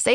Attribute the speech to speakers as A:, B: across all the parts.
A: Say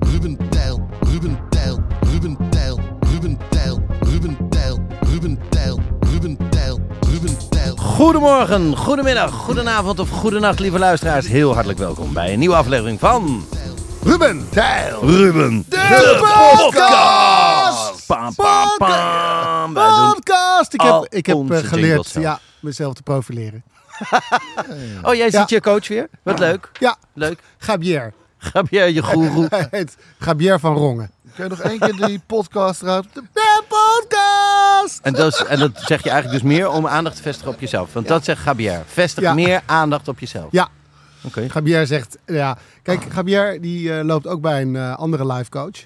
B: Ruben Tijl, Ruben Tijl, Ruben Tijl, Ruben Tijl, Ruben Tijl, Ruben Tijl, Ruben Tijl, Ruben Tijl.
C: Goedemorgen, goedemiddag, goedenavond of goedenacht, lieve luisteraars. Heel hartelijk welkom bij een nieuwe aflevering van
D: Ruben Tijl.
C: Ruben de,
D: podcast.
C: Pam, pam, pam. Wij doen-
D: Podcast. Ik
C: al
D: heb, ik heb eh,
C: onze jingles
D: geleerd
C: zelf.
D: ja, mezelf te profileren.
C: Oh, jij ziet
D: Ja.
C: je coach weer? Wat leuk.
D: Ja,
C: Leuk.
D: Gabier.
C: Gabriel, je goeroe.
D: Hij heet Gabier van Rongen.
E: Kun je nog één keer die podcast eruit?
D: De podcast.
C: En dat, is- en dat zeg je eigenlijk dus meer om aandacht te vestigen op jezelf. Want dat zegt Gabriel. Vestig
D: Ja.
C: meer aandacht op jezelf.
D: Ja,
C: Oké.
D: Gabier zegt, ja. Kijk, Gabier die eh, loopt ook bij een eh, andere life coach.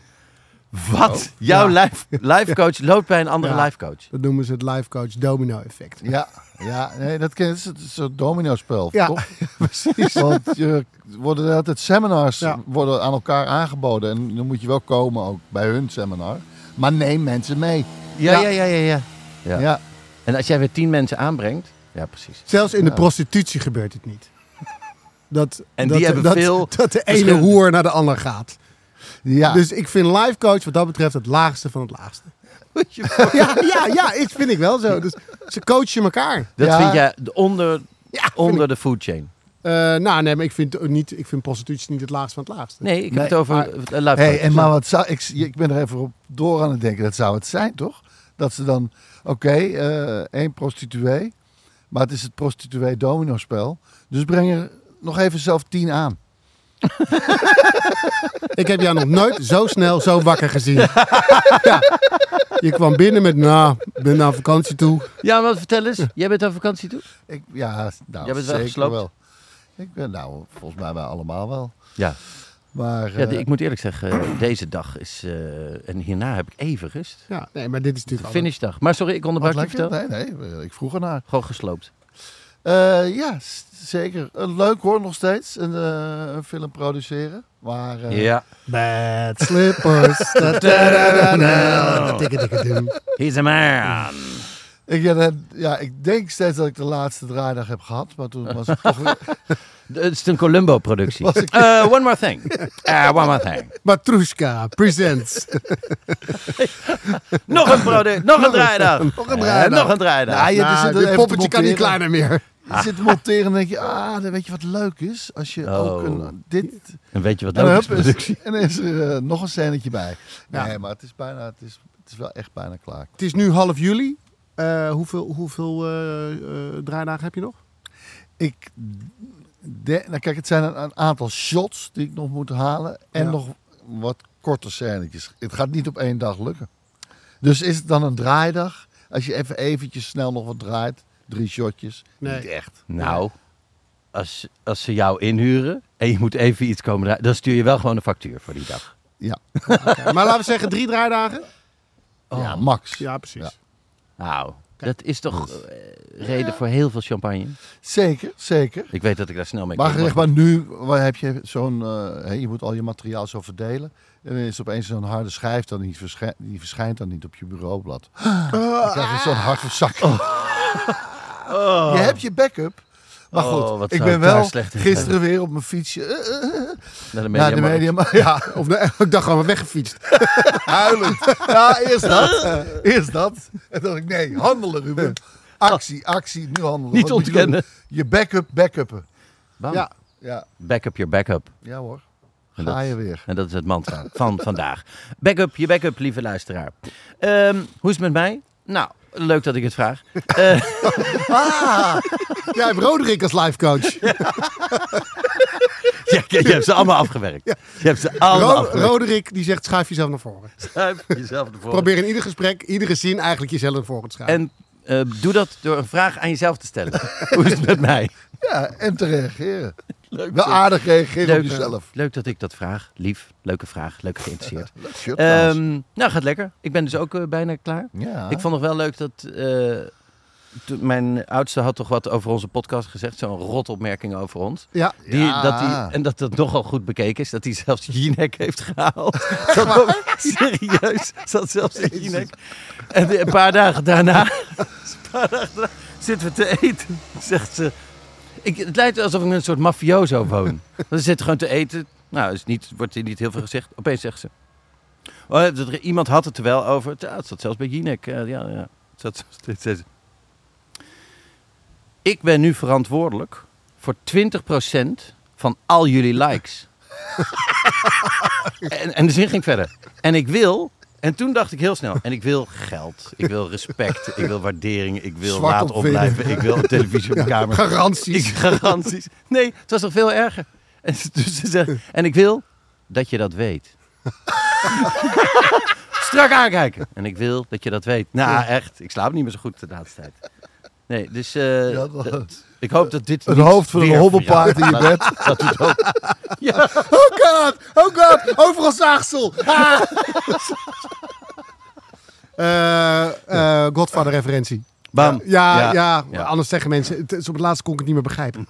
C: Wat? Jouw
D: Oh. Ja.
C: life, life coach loopt bij een andere
D: Ja.
C: life coach.
D: Dat noemen ze het life coach domino effect.
E: Ja, ja nee, dat ken- dat is een soort domino-spel.
D: Ja,
E: toch?
D: precies.
E: Want je worden er altijd seminars
D: Ja.
E: worden aan elkaar aangeboden. En dan moet je wel komen ook bij hun seminar. Maar neem mensen mee.
C: Ja, ja, ja, ja. ja. ja.
E: Ja.
C: En als jij weer tien mensen aanbrengt. Ja, precies.
D: Zelfs in de prostitutie gebeurt het niet. Dat,
C: En
D: dat,
C: die hebben
D: dat,
C: veel
D: dat de ene
C: verschillende-
D: hoer naar de ander gaat.
E: Ja.
D: Dus ik vind life coach wat dat betreft het laagste van het laagste. Ja, ja, ja, ik vind ik wel zo. Dus ze coachen elkaar.
C: Dat
E: Ja.
C: vind jij de- onder,
D: Ja, vind
C: onder
D: ik.
C: de food chain.
D: Eh, nou, nee, maar ik vind, ook niet, ik vind prostitutie niet het laagste van het laagste.
C: Nee, ik heb
E: Nee,
C: het over
D: maar-
C: eh, life coach.
E: Hey, en maar wat zou, ik, ik ben er even op door aan het denken. Dat zou het zijn, toch? Dat ze dan, oké, eh, één prostituee. Maar het is het prostituee-domino-spel. Dus breng er nog even zelf tien aan.
D: Ik heb jou nog nooit zo snel zo wakker gezien. ja. Je kwam binnen met, nou, ik ben naar vakantie toe.
C: Ja, maar vertel eens. Jij bent aan vakantie toe?
E: Ik, ja, nou,
C: Jij bent wel
E: zeker
C: gesloopt?
E: wel. Ik ben, nou, volgens mij wij allemaal wel.
C: Ja.
E: Maar
C: ja
E: eh,
C: ik moet eerlijk zeggen, deze dag is... eh, en hierna heb ik even rust.
D: Ja, nee, maar dit is
C: De
D: natuurlijk
C: finishdag. Maar sorry, ik
E: Oh, wat
C: onderbrak je.
E: lekker?
C: Vertel.
E: Nee, nee, ik vroeg ernaar.
C: Gewoon gesloopt.
E: Eh ja, s- zeker. Eh, leuk hoor, nog steeds. Een, eh, een film produceren. Maar eh,
C: ja.
D: Bad slippers. Da, da, da, da, da. Tikke, tikke, doem.
C: He's a man.
E: ik, ja, dat- ja, ik denk steeds dat ik de laatste draaidag heb gehad. Maar toen was het toch weer...
C: Het is een Columbo-productie.
E: Was ik-
C: Eh, one more thing. Eh, one more thing.
D: Matrushka presents.
C: Nog een, produ- nog een draaidag.
E: Nog een
C: Eh,
E: draaidag.
C: nog een draaidag.
E: Nou, je- er
D: Nou,
E: zit er
D: dit
E: even
D: poppetje
E: te
D: kan niet
E: monteren.
D: kleiner meer.
E: Je zit te monteren en denk je, ah, dan weet je wat leuk is? Als je ook
C: Oh.
E: een, eh, dit...
C: En weet je wat
E: En,
C: leuk is?
E: hup, is, en is er eh, nog een scènetje bij.
D: Ja.
E: Nee, maar het is bijna... Het is, het is wel echt bijna klaar.
D: Het is nu half juli. Eh, hoeveel hoeveel eh, eh, draaidagen heb je nog?
E: Ik de- nou kijk, het zijn een, een aantal shots die ik nog moet halen. En
D: Ja.
E: nog wat korte scènetjes. Het gaat niet op één dag lukken. Dus is het dan een draaidag? Als je even eventjes snel nog wat draait. Drie shotjes.
D: Nee.
E: Niet echt.
C: Nou, als, als ze jou inhuren en je moet even iets komen draaien, dan stuur je wel gewoon een factuur voor die dag.
E: Ja,
D: Oké, maar laten we zeggen drie draaidagen.
E: ja max.
D: Oh. Ja, precies.
E: Ja.
C: Nou, dat is toch eh, reden voor heel veel champagne?
E: Zeker, zeker.
C: Ik weet dat ik daar snel mee
E: Maar,
C: kom,
E: zeg maar nu waar heb je zo'n... eh, hè, je moet al je materiaal zo verdelen. En dan is opeens zo'n harde schijf dan niet verschijnt, die verschijnt dan niet op je bureaublad.
C: Ah.
E: Dan krijg je zo'n harde zak. Je hebt je backup. Maar
C: Oh,
E: goed,
C: wat
E: ik
C: zou
E: ben
C: ik daar
E: wel
C: slecht in
E: gisteren weer op mijn fietsje eh, eh, eh,
C: naar de
E: naar
C: media.
E: de media. Maar, ja,
D: Of nou, ik dacht gewoon weggefietst.
E: huilend. Ja, eerst dat. Eerst dat. En dan dacht ik, nee, handelen Ruben. Actie, actie, nu handelen.
C: Niet
E: Wat moet je
C: ontkennen.
E: doen? Je backup, backuppen.
C: Bam.
D: Ja.
E: Ja,
C: Backup your backup.
E: ja hoor.
C: Oh. En
E: Ga
C: dat-
E: je weer.
C: En dat is het mantra van vandaag. Backup, je backup, lieve luisteraar. Ehm, hoe is het met mij? Nou, leuk dat ik het vraag. Eh,
D: Jij hebt Roderick als lifecoach.
C: ja, je, je hebt ze allemaal afgewerkt. Je hebt ze allemaal
D: Ro-
C: afgewerkt.
D: Roderick die zegt schuif jezelf naar voren.
C: Schuif jezelf ervoor.
D: Probeer in ieder gesprek, iedere zin eigenlijk jezelf naar voren te schuiven.
C: En eh, doe dat door een vraag aan jezelf te stellen. hoe is het met mij?
E: Ja, en te reageren. Wel aardig reageren op
C: eh,
E: jezelf.
C: leuk dat ik dat vraag. Lief, leuke vraag, leuk geïnteresseerd.
E: Shit, trouwens.
C: Ehm, nou, gaat lekker. Ik ben dus ook eh, bijna klaar.
E: ja.
C: Ik vond nog wel leuk dat. eh, toen- mijn oudste had toch wat over onze podcast gezegd. Zo'n rotopmerking over ons.
D: ja,
C: Die,
E: Ja.
C: dat die, en dat dat nogal goed bekeken is. Dat hij zelfs Jinek heeft gehaald. Dat was serieus. Zat zelfs in Jinek. En een paar dagen daarna, een paar dagen daarna zitten we te eten. Zegt ze. Ik, het lijkt alsof ik met een soort mafioso woon. We zitten gewoon te eten. Nou, is niet, wordt hier niet heel veel gezegd. Opeens zegt ze. Oh, dat er- iemand had het er wel over. Ja, het zat zelfs bij Jinek. eh, ja, ja. Het zat, zelfs- dit zei ze. Ik ben nu verantwoordelijk voor 20% van al jullie likes. en, en de zin ging verder. En ik wil, en toen dacht ik heel snel, en ik wil geld, ik wil respect, ik wil waardering, ik wil
E: Zwart
C: laat
E: opvinden.
C: opblijven, ik wil op televisie op de kamer.
D: garanties.
C: Ik, garanties. Nee, het was nog veel erger. En, ze- dus ze zegt, en ik wil dat je dat weet. Strak aankijken. En ik wil dat je dat weet. Nou, echt. Ik slaap niet meer zo goed de laatste tijd. Nee, dus eh,
E: Ja, dat-
C: dat- ik hoop dat dit
E: Een
C: niet
E: hoofd van een
C: weer
E: hobbelpaard in
C: verjaart.
E: je bed.
C: Dat doet ook. Ja,
D: Oh god, oh god, overal zaagsel. Ah. Eh, eh, Godfather-referentie.
C: bam.
D: Ja, ja,
C: ja.
D: anders zeggen mensen, het is op het laatst kon ik het niet meer begrijpen.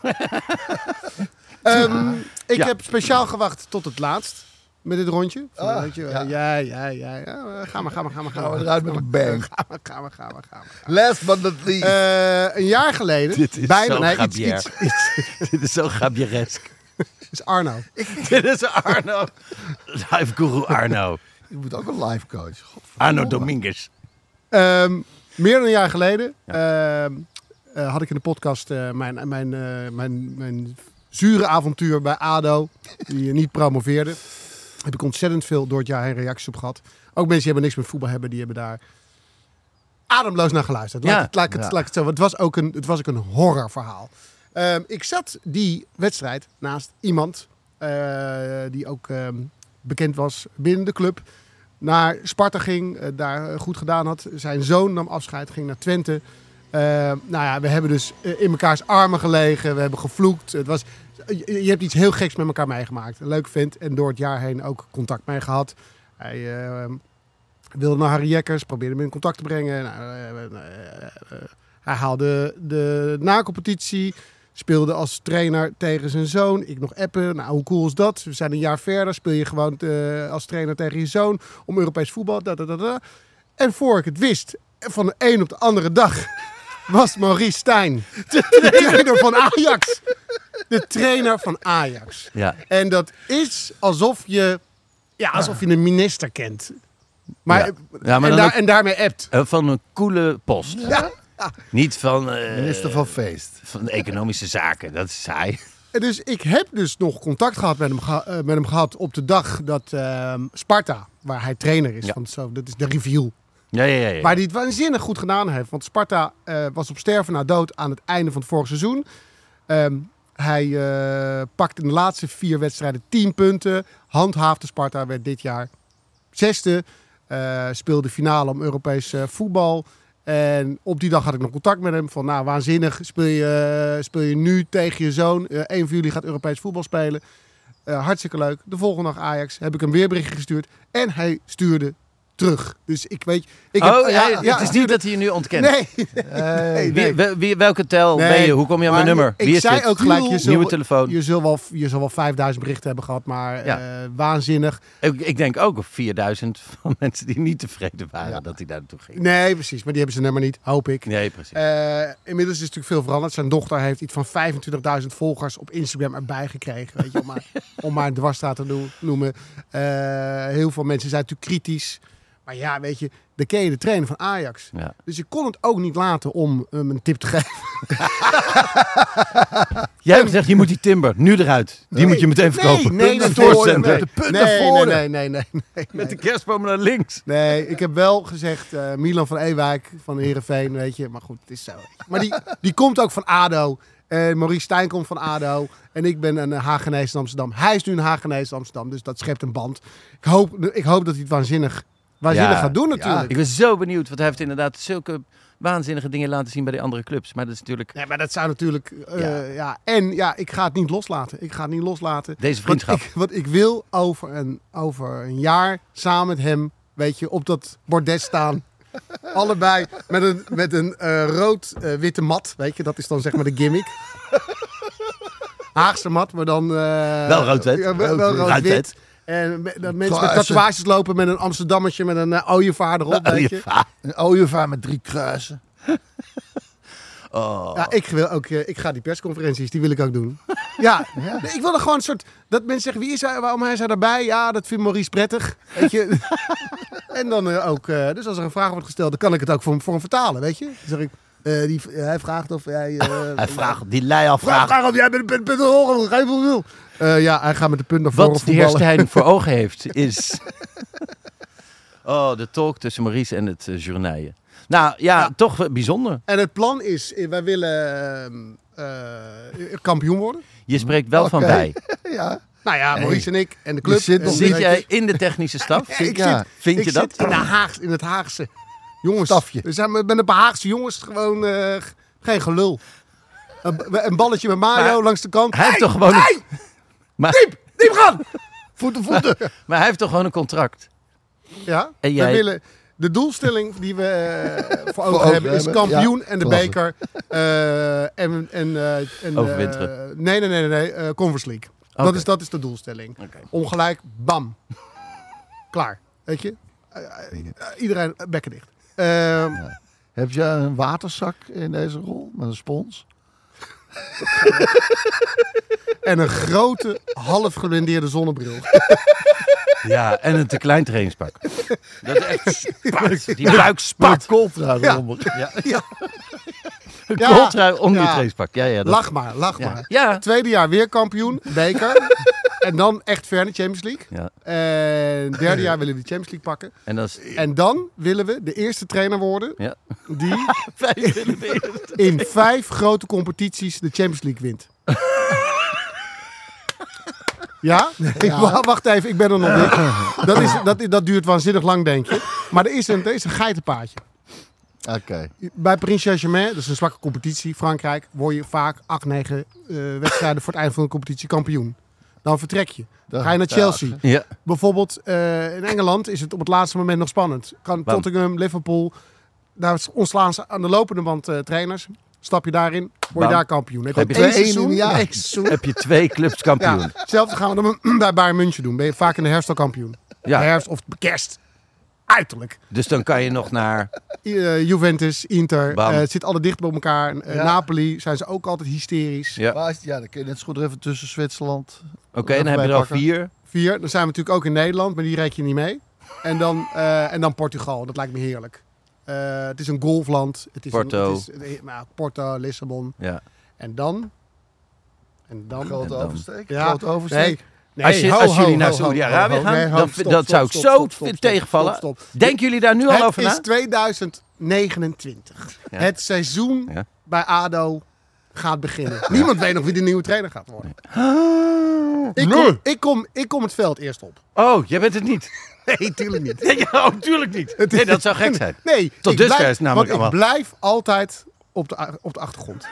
D: Ehm, ik
C: Ja.
D: heb speciaal gewacht tot het laatst met dit rondje. Van,
E: Ah,
D: weet je,
E: ja.
D: ja. ja, ja, ja, Eh, Ga maar, ga maar, ga maar. Ga
E: Gaan we
D: maar,
E: eruit met een bang.
D: Ga maar, ga maar, ga maar. Ga maar.
E: Last but not least.
D: Eh, een jaar geleden,
C: Dit is
D: bijna,
C: zo
D: nee, iets,
C: Gabier.
D: iets, iets,
C: Dit is zo gabieresk.
D: is Arno.
C: dit is Arno. Live guru Arno.
E: je moet ook een life coach.
C: Arno Dominguez.
D: Ehm, meer dan een jaar geleden ehm, eh, had ik in de podcast eh, mijn, mijn, eh, mijn, mijn zure avontuur bij ADO, die eh, niet promoveerde. Heb ik ontzettend veel door het jaar heen reacties op gehad. Ook mensen die hebben niks met voetbal hebben, die hebben daar ademloos naar geluisterd. Laat,
C: Ja.
D: het, laat, ik het,
E: Ja.
D: laat ik het zo. want Het was ook een, het was ook een horrorverhaal. Ehm, ik zat die wedstrijd naast iemand eh, die ook ehm, bekend was binnen de club. Naar Sparta ging, eh, daar eh, goed gedaan had. Zijn zoon nam afscheid, ging naar Twente. Eh, nou ja, we hebben dus eh, in mekaars armen gelegen. We hebben gevloekt. Het was, je, je hebt iets heel geks met elkaar meegemaakt. Een leuk vent en door het jaar heen ook contact mee gehad. Hij eh, wilde naar Harry Jekkers, probeerde me in contact te brengen. Nou, eh, eh, eh, hij haalde de na-competitie, speelde als trainer tegen zijn zoon. Ik nog appen, nou hoe cool is dat? We zijn een jaar verder, speel je gewoon eh, als trainer tegen je zoon om Europees voetbal. Da, da, da, da. En voor ik het wist, van de een op de andere dag was Maurice Stijn de trainer van Ajax. De trainer van Ajax.
C: Ja.
D: En dat is alsof je, ja, alsof je een minister kent. Maar, eh,
C: Ja. Ja, maar dan
D: en, daar,
C: ook-
D: en daarmee appt.
C: Eh, Van een coole post.
D: Ja.
C: Niet van, eh,
E: Minister van Feest.
C: van economische zaken. Dat is saai.
D: En Dus ik heb dus nog contact gehad met hem, geha- eh, met hem gehad op de dag dat ehm, Sparta, waar hij trainer is,
C: Ja.
D: want zo, dat is de reveal.
C: Ja, ja, ja. ja.
D: Waar hij het waanzinnig goed gedaan heeft. Want Sparta eh, was op sterven na dood aan het einde van het vorig seizoen. Ehm, hij eh pakte in de laatste vier wedstrijden 10 punten. Handhaafde Sparta werd dit jaar zesde. eh, speelde finale om Europees eh, voetbal. En op die dag had ik nog contact met hem. Van nou, waanzinnig. Speel je, eh, speel je nu tegen je zoon. Eh, Eén van jullie gaat Europees voetbal spelen. Eh, hartstikke leuk. De volgende dag Ajax. Heb ik hem weer berichtje gestuurd. En hij stuurde terug. Dus ik weet... Ik
C: oh,
D: heb-
C: ja, het is niet dat hij je nu ontkent.
D: Nee.
E: Hey,
C: Wie, wel- wie- welke tel
D: Nee,
C: ben je? Hoe kom je aan mijn
D: maar
C: nummer?
D: ik
C: Wie is
D: zei
C: dit?
D: ook gelijk, je zult-
C: Nieuwe telefoon.
D: Je zal, wel, je zal wel 5000 berichten hebben gehad, maar
C: Ja.
D: eh, waanzinnig.
C: Ik, ik denk ook op 4000 van mensen die niet tevreden waren dat hij daar naartoe ging.
D: Nee, precies. Maar die hebben ze nummer niet, hoop ik.
C: Nee, precies.
D: Eh, inmiddels is het natuurlijk veel veranderd. Zijn dochter heeft iets van 25.000 volgers op Instagram erbij gekregen. Weet je, om, maar, om maar een dwarsstaat te noem- noemen. Eh, heel veel mensen zijn natuurlijk kritisch. Maar ja, weet je, dan ken je de trainer van Ajax.
C: Ja.
D: Dus ik kon het ook niet laten om hem een tip te geven.
C: Jij hebt gezegd, je moet die timber nu eruit. Die moet je meteen verkopen.
D: Nee, nee,
C: Punt
D: nee,
C: naar
D: nee,
C: voren,
D: nee,
C: De punt
D: nee,
C: naar voren.
D: Nee, nee, nee, nee, nee,
C: Met de kerstboom naar links.
D: Nee, ik heb wel gezegd eh, Milan van Ewijk van Heerenveen, weet je. Maar goed, het is zo. Maar die, die komt ook van ADO. En Maurice Stijn komt van ADO. En ik ben een eh, Hagenees in Amsterdam. Hij is nu een Hagenees in Amsterdam, dus dat schept een band. Ik hoop, ik hoop dat hij het waanzinnig, waanzinnig
C: Ja,
D: gaat doen
E: ja.
D: natuurlijk.
C: Ik ben zo benieuwd, want hij heeft inderdaad zulke waanzinnige dingen laten zien bij de andere clubs. Maar dat is natuurlijk
D: Nee, maar dat zou natuurlijk... eh,
C: Ja.
D: ja. En ja, ik ga het niet loslaten. Ik ga het niet loslaten.
C: deze
D: Want
C: vriendschap.
D: ik, want ik wil over een, over een jaar samen met hem, weet je, op dat bordes staan. Allebei met een, met een eh, rood-witte mat, weet je. Dat is dan zeg maar de gimmick. Haagse mat, maar dan... eh,
C: Wel rood-wit.
D: ja, wel- wel
C: Rood-wit.
D: rood-wit. En me- dat mensen met
E: Kruisen.
D: tatoeages lopen met een Amsterdammetje met een eh, ooievaar erop, weet je.
E: Een ooievaar met drie kruisen.
D: Ja, ik, wil ook, eh, ik ga die persconferenties, die wil ik ook doen. Ja, Nee, ik wil er gewoon een soort... Dat mensen zeggen, wie is hij, waarom hij is hij daarbij? Ja, dat vindt Maurice prettig. Weet je? en dan eh, ook... eh, dus als er een vraag wordt gesteld, dan kan ik het ook voor, hem- voor hem vertalen, weet je? Dan zeg ik, eh, die, hij vraagt of jij... eh,
C: Hij vraagt, die lei al
D: vraag,
C: vraagt.
D: vraag of jij met de punt naar voren Geen wil wil. Eh, ja, hij gaat met de punt naar voren
C: Wat de heer
D: voetballen.
C: Stijn voor ogen heeft, is... Oh, de talk tussen Maurice en het uh, Nou ja, toch wel bijzonder.
D: En het plan is, eh, wij willen ehm, eh, kampioen worden.
C: Je spreekt wel van
E: Oké.
C: bij.
E: Ja.
D: Nou ja, Maurice en ik en de club.
E: Je zit
D: en-
E: nog
C: Zit jij in de technische staf?
D: Ja, ik
E: Ja,
D: zit,
C: vind
D: ik
C: je dat? Nou,
D: zit in, de Haagse, in het Haagse. Jongens,
E: Stafje.
D: We zijn, ik ben een paar Haagse jongens gewoon eh, g- geen gelul. Een, b- een balletje met Mario
C: Maar
D: langs de kant.
C: Hij heeft toch gewoon...
D: Hey,
C: een- Maar,
D: diep gaan! Voeten, voeten.
C: maar hij heeft toch gewoon een contract?
D: Ja,
C: En
D: we
C: jij-
D: willen... De doelstelling die we eh, voor ogen
E: ogen
D: hebben is
E: hebben,
D: kampioen
E: ja,
D: en de
E: klasse.
D: beker. eh, en, en, eh, en, eh,
C: Overwinteren.
D: nee, nee, nee, nee. nee eh, Conference League. Dat,
C: Oké.
D: is, dat is de doelstelling.
C: Oké.
D: Ongelijk, bam. Klaar. Weet je? Eh, eh, iedereen eh, bekken dicht. Ehm,
E: Heb je een waterzak in deze rol met een spons?
D: En een grote, half gelendeerde zonnebril.
C: Ja, en een te klein trainingspak. Dat is echt spat. Die buik spat.
E: kooltrui
D: Ja.
E: eronder. Ja.
D: Ja.
C: Een
D: Ja.
C: kooltrui om die
D: Ja.
C: trainingspak. Ja, ja, dat-
D: Lach maar, lach
C: Ja.
D: maar.
C: ja.
D: Tweede jaar weer kampioen, beker. en dan echt ver naar Champions League.
C: Ja.
D: En derde jaar willen we de Champions League pakken.
C: En dat is...
D: En dan willen we de eerste trainer worden
C: Ja.
D: die
C: Vijf willen weer.
D: in vijf grote competities de Champions League wint. Ja? Ik- wa- wacht even, ik ben er nog niet. Dat, is, dat, dat duurt waanzinnig lang, denk je. Maar er is een, er is een geitenpaadje.
E: Oké.
D: Bij Paris Saint-Germain, dat is een zwakke competitie, Frankrijk, word je vaak 8, 9 eh, wedstrijden voor het einde van een competitie kampioen. Dan vertrek je. Dan ga je naar
E: Ja.
D: Chelsea.
C: Ja.
D: Bijvoorbeeld eh, in Engeland is het op het laatste moment nog spannend. Kan
C: Waarom?
D: Tottenham, Liverpool, daar ontslaan ze aan de lopende band eh, trainers. Stap je daarin, word je
C: Bam.
D: daar kampioen. Heb je
C: Heb je
D: één
E: twee
D: seizoen,
E: in een jaar.
D: één seizoen.
C: Heb je twee clubs kampioen.
D: Ja, hetzelfde gaan we dan bij Bayern München doen. Ben je vaak in de herfst al kampioen.
C: Ja.
D: De herfst of kerst. Uiterlijk.
C: Dus dan kan je nog naar...
D: Eh, Juventus, Inter.
C: Bam.
D: eh, het zit alle dicht bij elkaar. Eh,
E: Ja.
D: Napoli zijn ze ook altijd hysterisch.
C: Ja.
E: Maar als- ja, dan kun je net zo goed er even tussen Zwitserland.
C: Oké, dan heb je er al
E: Pakken.
C: vier.
D: Vier. Dan zijn we natuurlijk ook in Nederland, maar die reken je niet mee. En dan, eh, en dan Portugal. Dat lijkt me heerlijk. Eh, het is een golfland. Het is
C: Porto.
D: Een, het is, eh, nou, Porto, Lissabon.
C: Ja.
D: En dan. En dan.
E: Groot
C: dan-
E: oversteek.
D: Ja.
E: Groot oversteek.
D: Nee,
C: Als, je,
D: ho,
C: als
D: ho,
C: jullie
D: ho,
C: naar
D: ho,
C: Saudi-Arabië
D: ho, ho.
C: gaan,
D: Nee, ho,
C: dan,
D: stop,
C: dat
D: stop,
C: zou ik
D: stop,
C: zo
D: stop, stop, stop,
C: tegenvallen.
D: stop, stop.
C: Denken jullie daar nu al
D: Het
C: over
D: is
C: na?
D: 2029.
C: Ja.
D: Het seizoen
C: Ja.
D: bij ADO gaat beginnen. Niemand weet nog wie de nieuwe trainer gaat worden.
C: Ah,
D: Ik, kom, ik, kom, ik kom het veld eerst op.
C: Oh, jij bent het niet.
D: Nee, tuurlijk niet.
C: Nee, ja, oh, tuurlijk niet. Nee, dat zou gek zijn.
D: Nee,
C: Tot
D: ik
C: dusver
D: blijf,
C: is het namelijk
D: want
C: allemaal-
D: ik blijf altijd op de, a- op de achtergrond.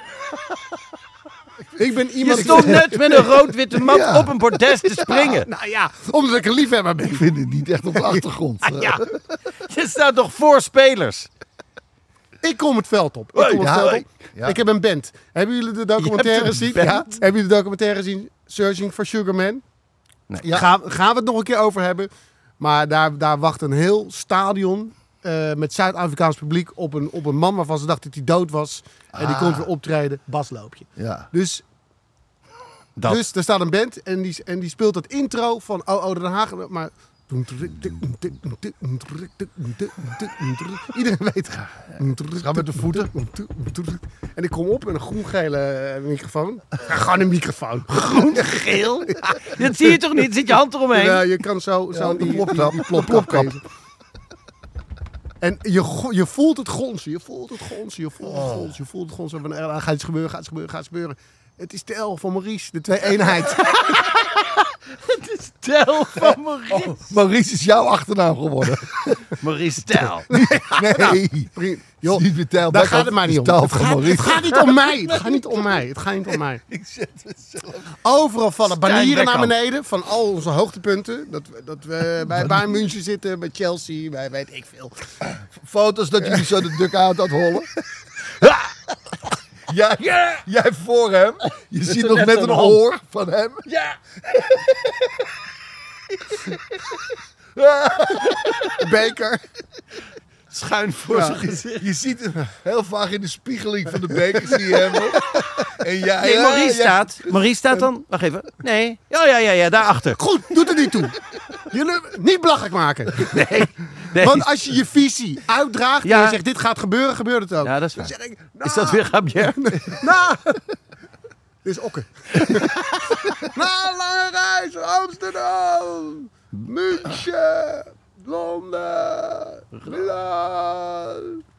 D: ik ben
C: Je
D: iemand...
C: stond net met een rood-witte mat
E: Ja.
C: op een bordes te springen.
D: Nou ja, omdat ik een liefhebber ben.
E: Ik vind het niet echt op de achtergrond. eh,
D: Ja,
C: Je staat toch voor spelers?
D: ik kom het veld op. Ik, kom het
E: ja,
D: veld
E: hoi.
D: op.
E: Ja.
D: ik heb een band. Hebben jullie de documentaire
C: een
D: gezien?
C: band?
D: Ja. Hebben jullie de documentaire gezien? Searching for Sugar Man?
C: Nee.
D: Ja. Gaan, gaan we het nog een keer over hebben. Maar daar, daar wacht een heel stadion eh, met Zuid-Afrikaans publiek op een, op een man waarvan ze dachten dat hij dood was. En die komt weer optreden. Basloopje.
E: Ah. Ja.
D: Dus
C: Dat.
D: Dus er staat een band en die, en die speelt dat intro van OO Den Haag. Maar Iedereen weet het.
E: Ga met de voeten.
D: En ik kom op met een groen-gele eh, microfoon. Ja, gewoon een microfoon. Groen-geel?
C: Dat zie je toch niet? Zit je hand eromheen?
D: Ja, eh, je kan zo, zo
E: Ja, de
D: die,
E: plopkap,
D: die- die
E: plopkap.
D: lezen. En je, go- je voelt het gonzen, je voelt het gonzen, je voelt
E: Oh.
D: het gonzen, je voelt het gonzen. Van, eh, gaat iets gebeuren, gaat iets gebeuren, gaat iets gebeuren. Het is de L van Maurice, de twee-eenheid.
C: Tel van Maurice.
E: Maurice is jouw achternaam geworden.
C: Maurice Tel.
E: Nee.
D: Prima.
E: Joh, niet meer
D: Daar
E: Tijl Beckhoff,
D: gaat het mij
E: is
D: niet om.
E: Tijl
D: Het
E: van
D: gaat, het
E: Maurice.
D: gaat niet om mij. Het gaat niet om mij. Het gaat niet om mij. Overal vallen
C: Stijn
D: banieren naar
C: Beckhoff.
D: beneden van al onze hoogtepunten. Dat, we- dat we bij Bayern München zitten, bij Chelsea, bij weet ik veel.
E: Foto's dat jullie zo de duk aan het hollen. Jij, jij voor hem. Je ziet nog
C: net
E: net
C: een
E: een
C: hand.
E: oor van hem.
C: Ja.
E: Beker.
C: Schuin voor
E: Ja,
C: zijn
E: je,
C: gezicht.
E: je ziet hem heel vaag in de spiegeling van de beker. Zie je hem nog. En jij,
C: Nee,
E: ja,
C: Maurice
E: jij-
C: staat. Maurice staat dan. Wacht even. Eh, Nee. Ja, ja, ja, ja. Daarachter.
D: Goed, doet er niet toe. Jullie niet belachelijk maken.
C: Nee. nee.
D: Want als je je visie uitdraagt en
C: Ja.
D: je zegt dit gaat gebeuren, gebeurt het ook.
C: Ja, dat is
D: Dan
C: waar.
D: zeg ik, nou,
C: Is dat weer Gabier?
D: nou. Dit is okke. Na lange reis, Amsterdam, München, Londen, Milaan,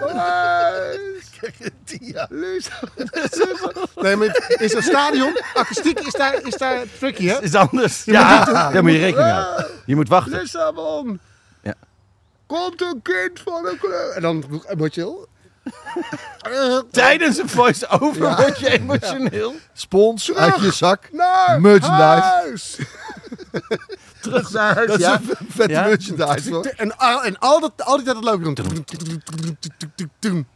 D: Parijs. Nee, maar het is een stadion. Akoestiek is daar, is daar tricky, hè?
C: Is anders. Ja, daar moet je rekening mee houden. Je moet wachten.
D: Lissabon.
C: Ja.
D: Komt een kind van een kleur. En dan word je heel...
C: Tijdens een voice-over word je emotioneel.
E: Spons uit je zak.
D: Naar
E: Merchandise.
D: huis.
C: Terug naar huis.
E: Dat is
C: Ja.
E: een vette
C: Ja.
E: merchandise. hoor.
D: En, al- en al dat, al die tijd dat leuke doen.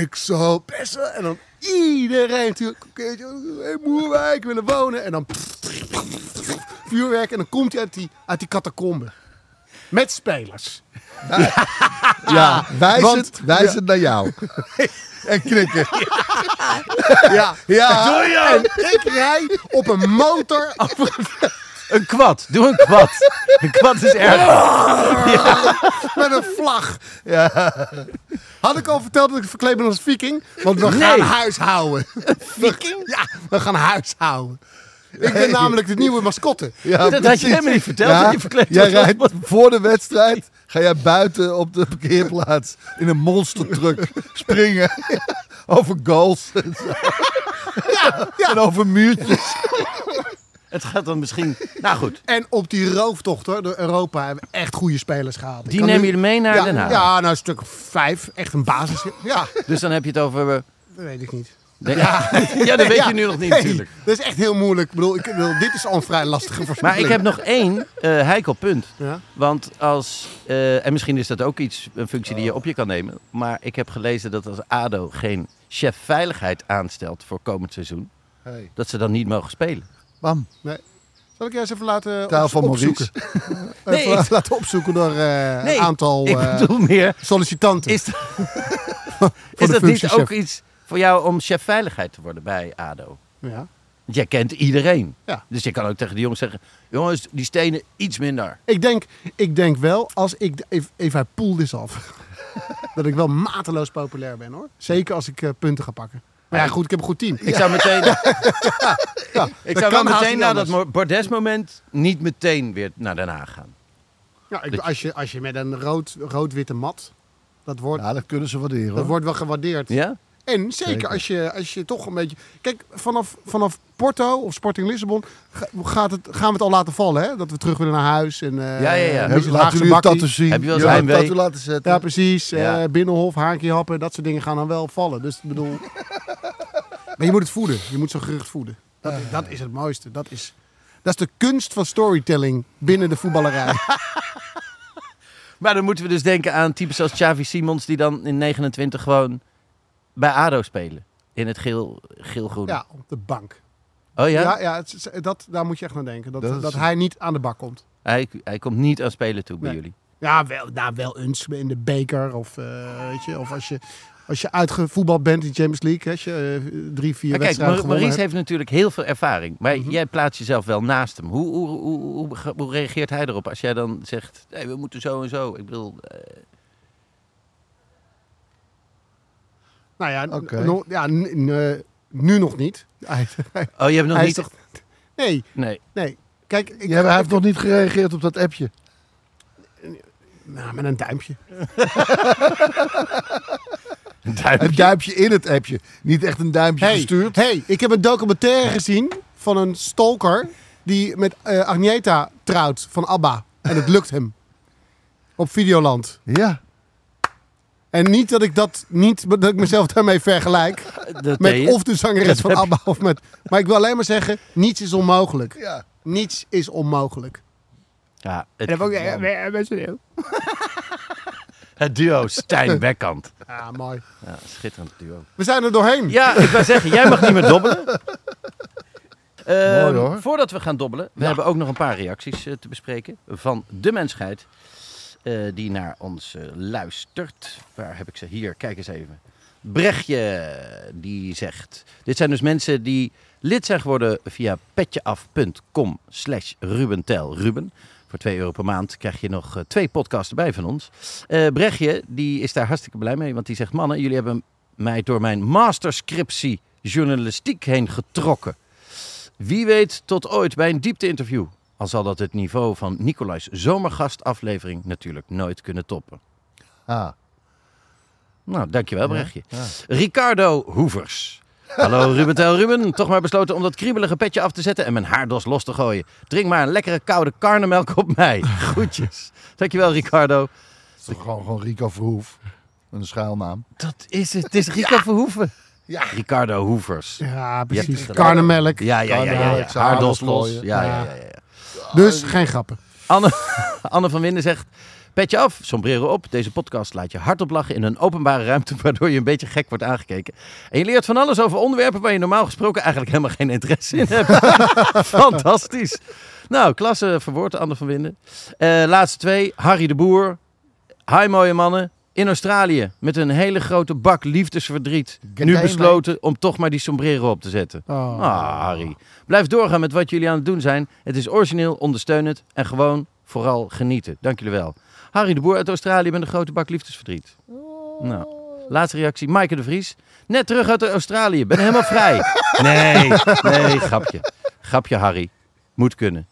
D: Ik zal bessen. En dan iedereen natuurlijk. oké, In Moerwijk willen wonen. En dan vuurwerk. En dan komt hij uit die, uit die catacombe. Met spelers.
E: Ja, wijs,
D: want-
E: het, wijs het naar jou. En knikken.
D: Ja.
E: Ja,
D: En ik rij op een motor over het
C: Een kwad. Doe een kwad. Een kwad is erg.
D: met een vlag. Had ik al verteld dat ik verkleed ben als viking? Want we gaan
C: Nee.
D: huishouden. Viking? Ja, we gaan huishouden. Ik ben namelijk de nieuwe mascotte.
E: ja,
C: Dat had je
E: precies.
C: helemaal niet verteld, dat je verkleed
E: jij
C: was als
E: rijdt voor de wedstrijd. Ga jij buiten op de parkeerplaats in een monstertruck springen over goals en zo. en over muurtjes.
C: Het gaat dan misschien... Nou goed.
D: En op die rooftocht hoor, door Europa hebben we echt goede spelers gehaald. Ik
C: Die
D: kan
C: neem
D: nu-
C: je mee naar
D: ja,
C: Den Haag.
D: Ja, nou een stuk of vijf. Echt een basis. Ja,
C: Dus dan heb je het over... eh,
D: dat weet ik niet.
C: de- Ja, dat weet
D: Ja,
C: je nu nog niet
D: nee,
C: natuurlijk.
D: Dat is echt heel moeilijk. Ik bedoel, ik, bedoel, dit is al een vrij lastige
C: Maar ik
D: voorspelling.
C: heb nog één eh heikel punt.
D: Ja?
C: Want als, eh, en misschien is dat ook iets, een functie die je
D: Oh.
C: op je kan nemen. Maar ik heb gelezen dat als ADO geen chef veiligheid aanstelt voor komend seizoen,
E: Hey.
C: dat ze dan niet mogen spelen.
E: Bam,
D: Nee. Zal ik je eens even laten op-
E: taal van
D: opzoeken?
E: Maurice.
C: Nee,
D: Even
C: ik-
D: laten opzoeken door eh,
C: Nee,
D: een aantal
C: ik
D: eh,
C: bedoel meer,
D: sollicitanten.
C: is, dat- is
D: de
C: dat
D: functie
C: niet ook
D: chef.
C: iets voor jou om chef veiligheid te worden bij ADO?
D: Ja.
C: Want jij kent iedereen.
D: Ja.
C: Dus je kan ook tegen die jongens zeggen, jongens, die stenen iets minder.
D: Ik, denk, ik denk wel, als ik even, even hij poel is af, dat ik wel mateloos populair ben hoor. Zeker als ik eh, punten ga pakken. Maar ja, goed, ik heb een goed team.
C: Ik zou meteen, ik zou
D: kan
C: wel
D: haast
C: meteen
D: niet
C: na dat
D: anders.
C: mo- Bordes-moment niet meteen weer naar Den Haag gaan.
D: Ja, ik- als, je, als je met een rood, rood-witte mat, dat wordt,
E: Ja, dat kunnen ze waarderen.
D: dat
E: hoor.
D: wordt wel gewaardeerd.
C: Ja?
D: En zeker,
E: Zeker.
D: Als, je, als je toch een beetje... Kijk, vanaf, vanaf Porto of Sporting Lissabon ga- gaat het, gaan we het al laten vallen. Hè? Dat we terug willen naar huis. En, eh,
C: Ja, ja, ja.
D: een
E: Hebben-
D: beetje
E: Laten
D: Haagse
E: jullie een
D: bakkie.
E: tattoo zien.
C: Heb je wel eens
E: Jullie een
C: heimwee?
E: tattoo laten zetten?
D: Ja, precies.
C: Ja.
D: Eh, binnenhof, haakje happen, dat soort dingen gaan dan wel vallen. Dus ik bedoel... maar je moet het voeden. Je moet zo'n gerucht voeden. Dat, dat is het mooiste. Dat is, dat is de kunst van storytelling binnen de voetballerij.
C: Maar dan moeten we dus denken aan types als Xavi Simons... die dan in 29 gewoon bij ADO spelen. In het geel- geel-groen.
D: ja, op de bank.
C: Oh ja?
D: Ja, ja, het is- dat, daar moet je echt naar denken. Dat,
E: Dat
D: dat,
E: is-
D: hij niet aan de bak komt.
C: Hij, hij komt niet aan spelen toe bij
D: Nee.
C: jullie.
D: Ja, wel, nou, wel eens in de beker of, eh, weet je, of als je Als je uitgevoetbald bent in de Champions League, als je eh, drie, vier
C: Maar Ah, kijk,
D: wedstrijden
C: Mar-
D: gewonnen Mhm.
C: Maurice
D: hebt.
C: heeft natuurlijk heel veel ervaring. Maar jij plaatst jezelf wel naast hem. Hoe, hoe, hoe, hoe, ge- hoe reageert hij erop als jij dan zegt... "Hey, we moeten zo en zo. Ik bedoel... eh,
D: Nou ja, n-
E: Oké.
D: no- ja n- n- eh, nu nog niet. Hij, hij
C: Oh, je hebt nog
D: is
C: niet...
D: toch- Nee,
C: Nee.
D: nee. Kijk, ik,
E: Ja, maar hij heeft nog niet gereageerd op dat appje.
D: nou, met een duimpje.
C: Een duimpje.
E: Een duimpje in het appje. Niet echt een duimpje
D: Hey,
E: gestuurd.
D: hey, ik heb een documentaire gezien van een stalker die met eh, Agneta trouwt van ABBA. En het lukt hem. Op Videoland.
E: Ja.
D: En niet dat ik dat niet, dat ik mezelf daarmee vergelijk.
C: Dat deed
D: Met
C: je.
D: of de zangeres van ABBA of met... Maar ik wil alleen maar zeggen, niets is onmogelijk.
E: ja.
D: Niets is onmogelijk.
C: Ja, het,
D: En dan heb ik ook... Ja, best wel.
C: het duo Stijn Bekkant.
D: Ja, mooi.
C: Ja, schitterend duo.
D: We zijn er doorheen.
C: Ja, ik wou zeggen, jij mag niet meer dobbelen. Ehm,
E: Mooi, hoor.
C: Voordat we gaan dobbelen, we hebben ook nog een paar reacties eh, te bespreken van de mensheid eh, die naar ons eh, luistert. Waar heb ik ze? Hier, kijk eens even. Brechtje, die zegt... Dit zijn dus mensen die lid zijn geworden via petjeaf.com slash rubentelruben. Ruben. Voor 2 euro per maand krijg je nog eh, twee podcasts erbij van ons. Eh, Brechtje, die is daar hartstikke blij mee, want die zegt... Mannen, jullie hebben mij door mijn masterscriptie journalistiek heen getrokken. Wie weet tot ooit bij een diepte-interview. Al zal dat het niveau van Nicolais zomergastaflevering natuurlijk nooit kunnen toppen.
E: Ah.
C: Nou, dankjewel Brechtje.
E: ja.
C: Ricardo Hoevers. Hallo Ruben Tel Ruben. Toch maar besloten om dat kriebelig petje af te zetten en mijn haardos los te gooien. Drink maar een lekkere koude karnemelk op mij. Groetjes. Dankjewel Ricardo.
E: Het is toch gewoon, gewoon Rico Verhoef. Met Een schuilnaam.
C: Dat is het. Het is Rico Verhoeven.
E: Ja.
C: Ricardo Hoevers.
D: Ja,
C: Je
D: precies.
C: hebt het
D: Karnemelk.
C: Ja, ja, ja. ja, ja.
E: Karnemelk,
C: Haardos
E: haardos
C: los.
E: gooien.
C: Ja, ja, ja. ja, ja.
D: Dus geen grappen.
C: Anne, Anne van Winden zegt... Petje af, sombrero op. Deze podcast laat je hardop lachen in een openbare ruimte... waardoor je een beetje gek wordt aangekeken. En je leert van alles over onderwerpen... waar je normaal gesproken eigenlijk helemaal geen interesse in hebt. Fantastisch. Nou, klasse verwoord, Anne van Winden. Eh, laatste twee, Harry de Boer. Hi mooie mannen. In Australië, met een hele grote bak liefdesverdriet... nu
E: mate.
C: besloten om toch maar die sombrero op te zetten.
D: Oh.
C: Ah, Harry. Blijf doorgaan met wat jullie aan het doen zijn. Het is origineel, ondersteunend en gewoon vooral genieten. Dank jullie wel. Harry de Boer uit Australië met een grote bak liefdesverdriet. Nou, laatste reactie. Maaike de Vries. Net terug uit Australië. Ben helemaal vrij. Nee, nee, grapje. Grapje, Harry. Moet kunnen.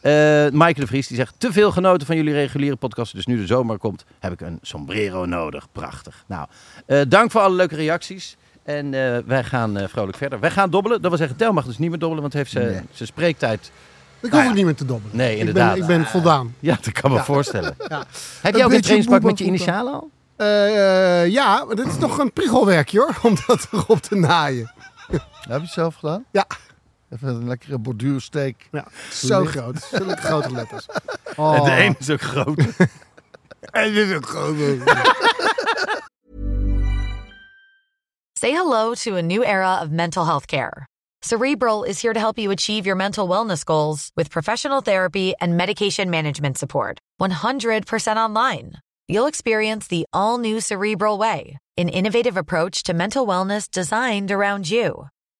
C: Eh Maaike de Vries die zegt... Te veel genoten van jullie reguliere podcast. Dus nu de zomer komt, heb ik een sombrero nodig. Prachtig. Nou, eh, dank voor alle leuke reacties. En eh, wij gaan eh, vrolijk verder. Wij gaan dobbelen. Dat wil zeggen, Tel mag dus niet meer dobbelen, want heeft ze,
E: Nee.
C: ze spreektijd.
D: Ik hoef
C: Nou ja.
D: het niet meer te dobbelen.
C: Nee,
D: ik ben,
C: inderdaad.
D: ik ben voldaan.
C: Ja, dat kan me voorstellen.
D: Ja.
C: Heb jij
E: Een
C: ook een
E: beetje
C: trainingspak met je
E: boeba-boeba.
C: initialen al?
D: Eh, ja, maar dit is nog een priegelwerkje hoor, om dat erop te naaien.
E: Heb je het zelf gedaan?
D: Ja.
E: Even een lekkere borduursteek.
D: Ja, zo
E: Licht.
D: groot. Zulke grote letters. Oh.
C: is ook groot.
D: En dit is ook groot.
A: Say hello to a new era of mental health care. Cerebral is here to help you achieve your mental wellness goals with professional therapy and medication management support. 100% online. You'll experience the all new Cerebral Way, an innovative approach to mental wellness designed around you.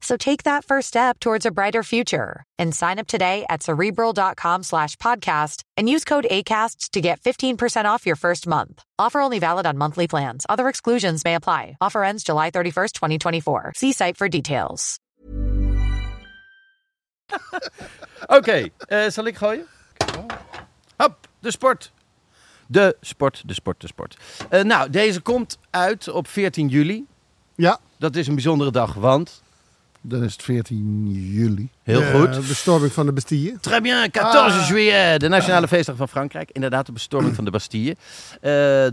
A: So take that first step towards a brighter future and sign up today at cerebral.com slash podcast and use code ACAST to get 15% off your first month. Offer only valid on monthly plans. Other exclusions may apply. Offer ends July 31st, 2024. See site for details.
C: Oké, eh, zal ik gooien? Hop, de sport. De sport, de sport, de sport. Eh, nou, deze komt uit op 14 juli.
D: Ja,
C: Dat is een bijzondere dag, want...
E: Dan is het 14 juli.
C: Heel
D: de
C: goed.
D: bestorming van de Bastille.
C: Très bien, 14 juillet, de nationale feestdag van Frankrijk. Inderdaad, de bestorming van de Bastille. Eh,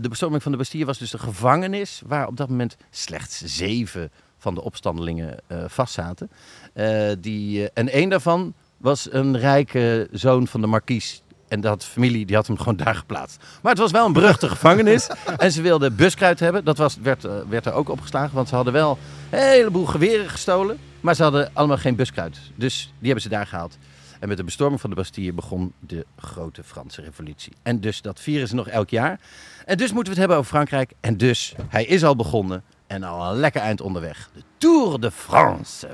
C: de bestorming van de Bastille was dus de gevangenis waar op dat moment slechts zeven van de opstandelingen eh vastzaten. Eh, die, eh, en één daarvan was een rijke zoon van de markies En dat familie die had hem gewoon daar geplaatst. Maar het was wel een beruchte gevangenis. En ze wilden buskruid hebben. Dat was, werd, eh, werd er ook opgeslagen. Want ze hadden wel een heleboel geweren gestolen. Maar ze hadden allemaal geen buskruid. Dus die hebben ze daar gehaald. En met de bestorming van de Bastille begon de grote Franse revolutie. En dus dat vieren ze nog elk jaar. En dus moeten we het hebben over Frankrijk. En dus, hij is al begonnen. En al een lekker eind onderweg. De Tour de France.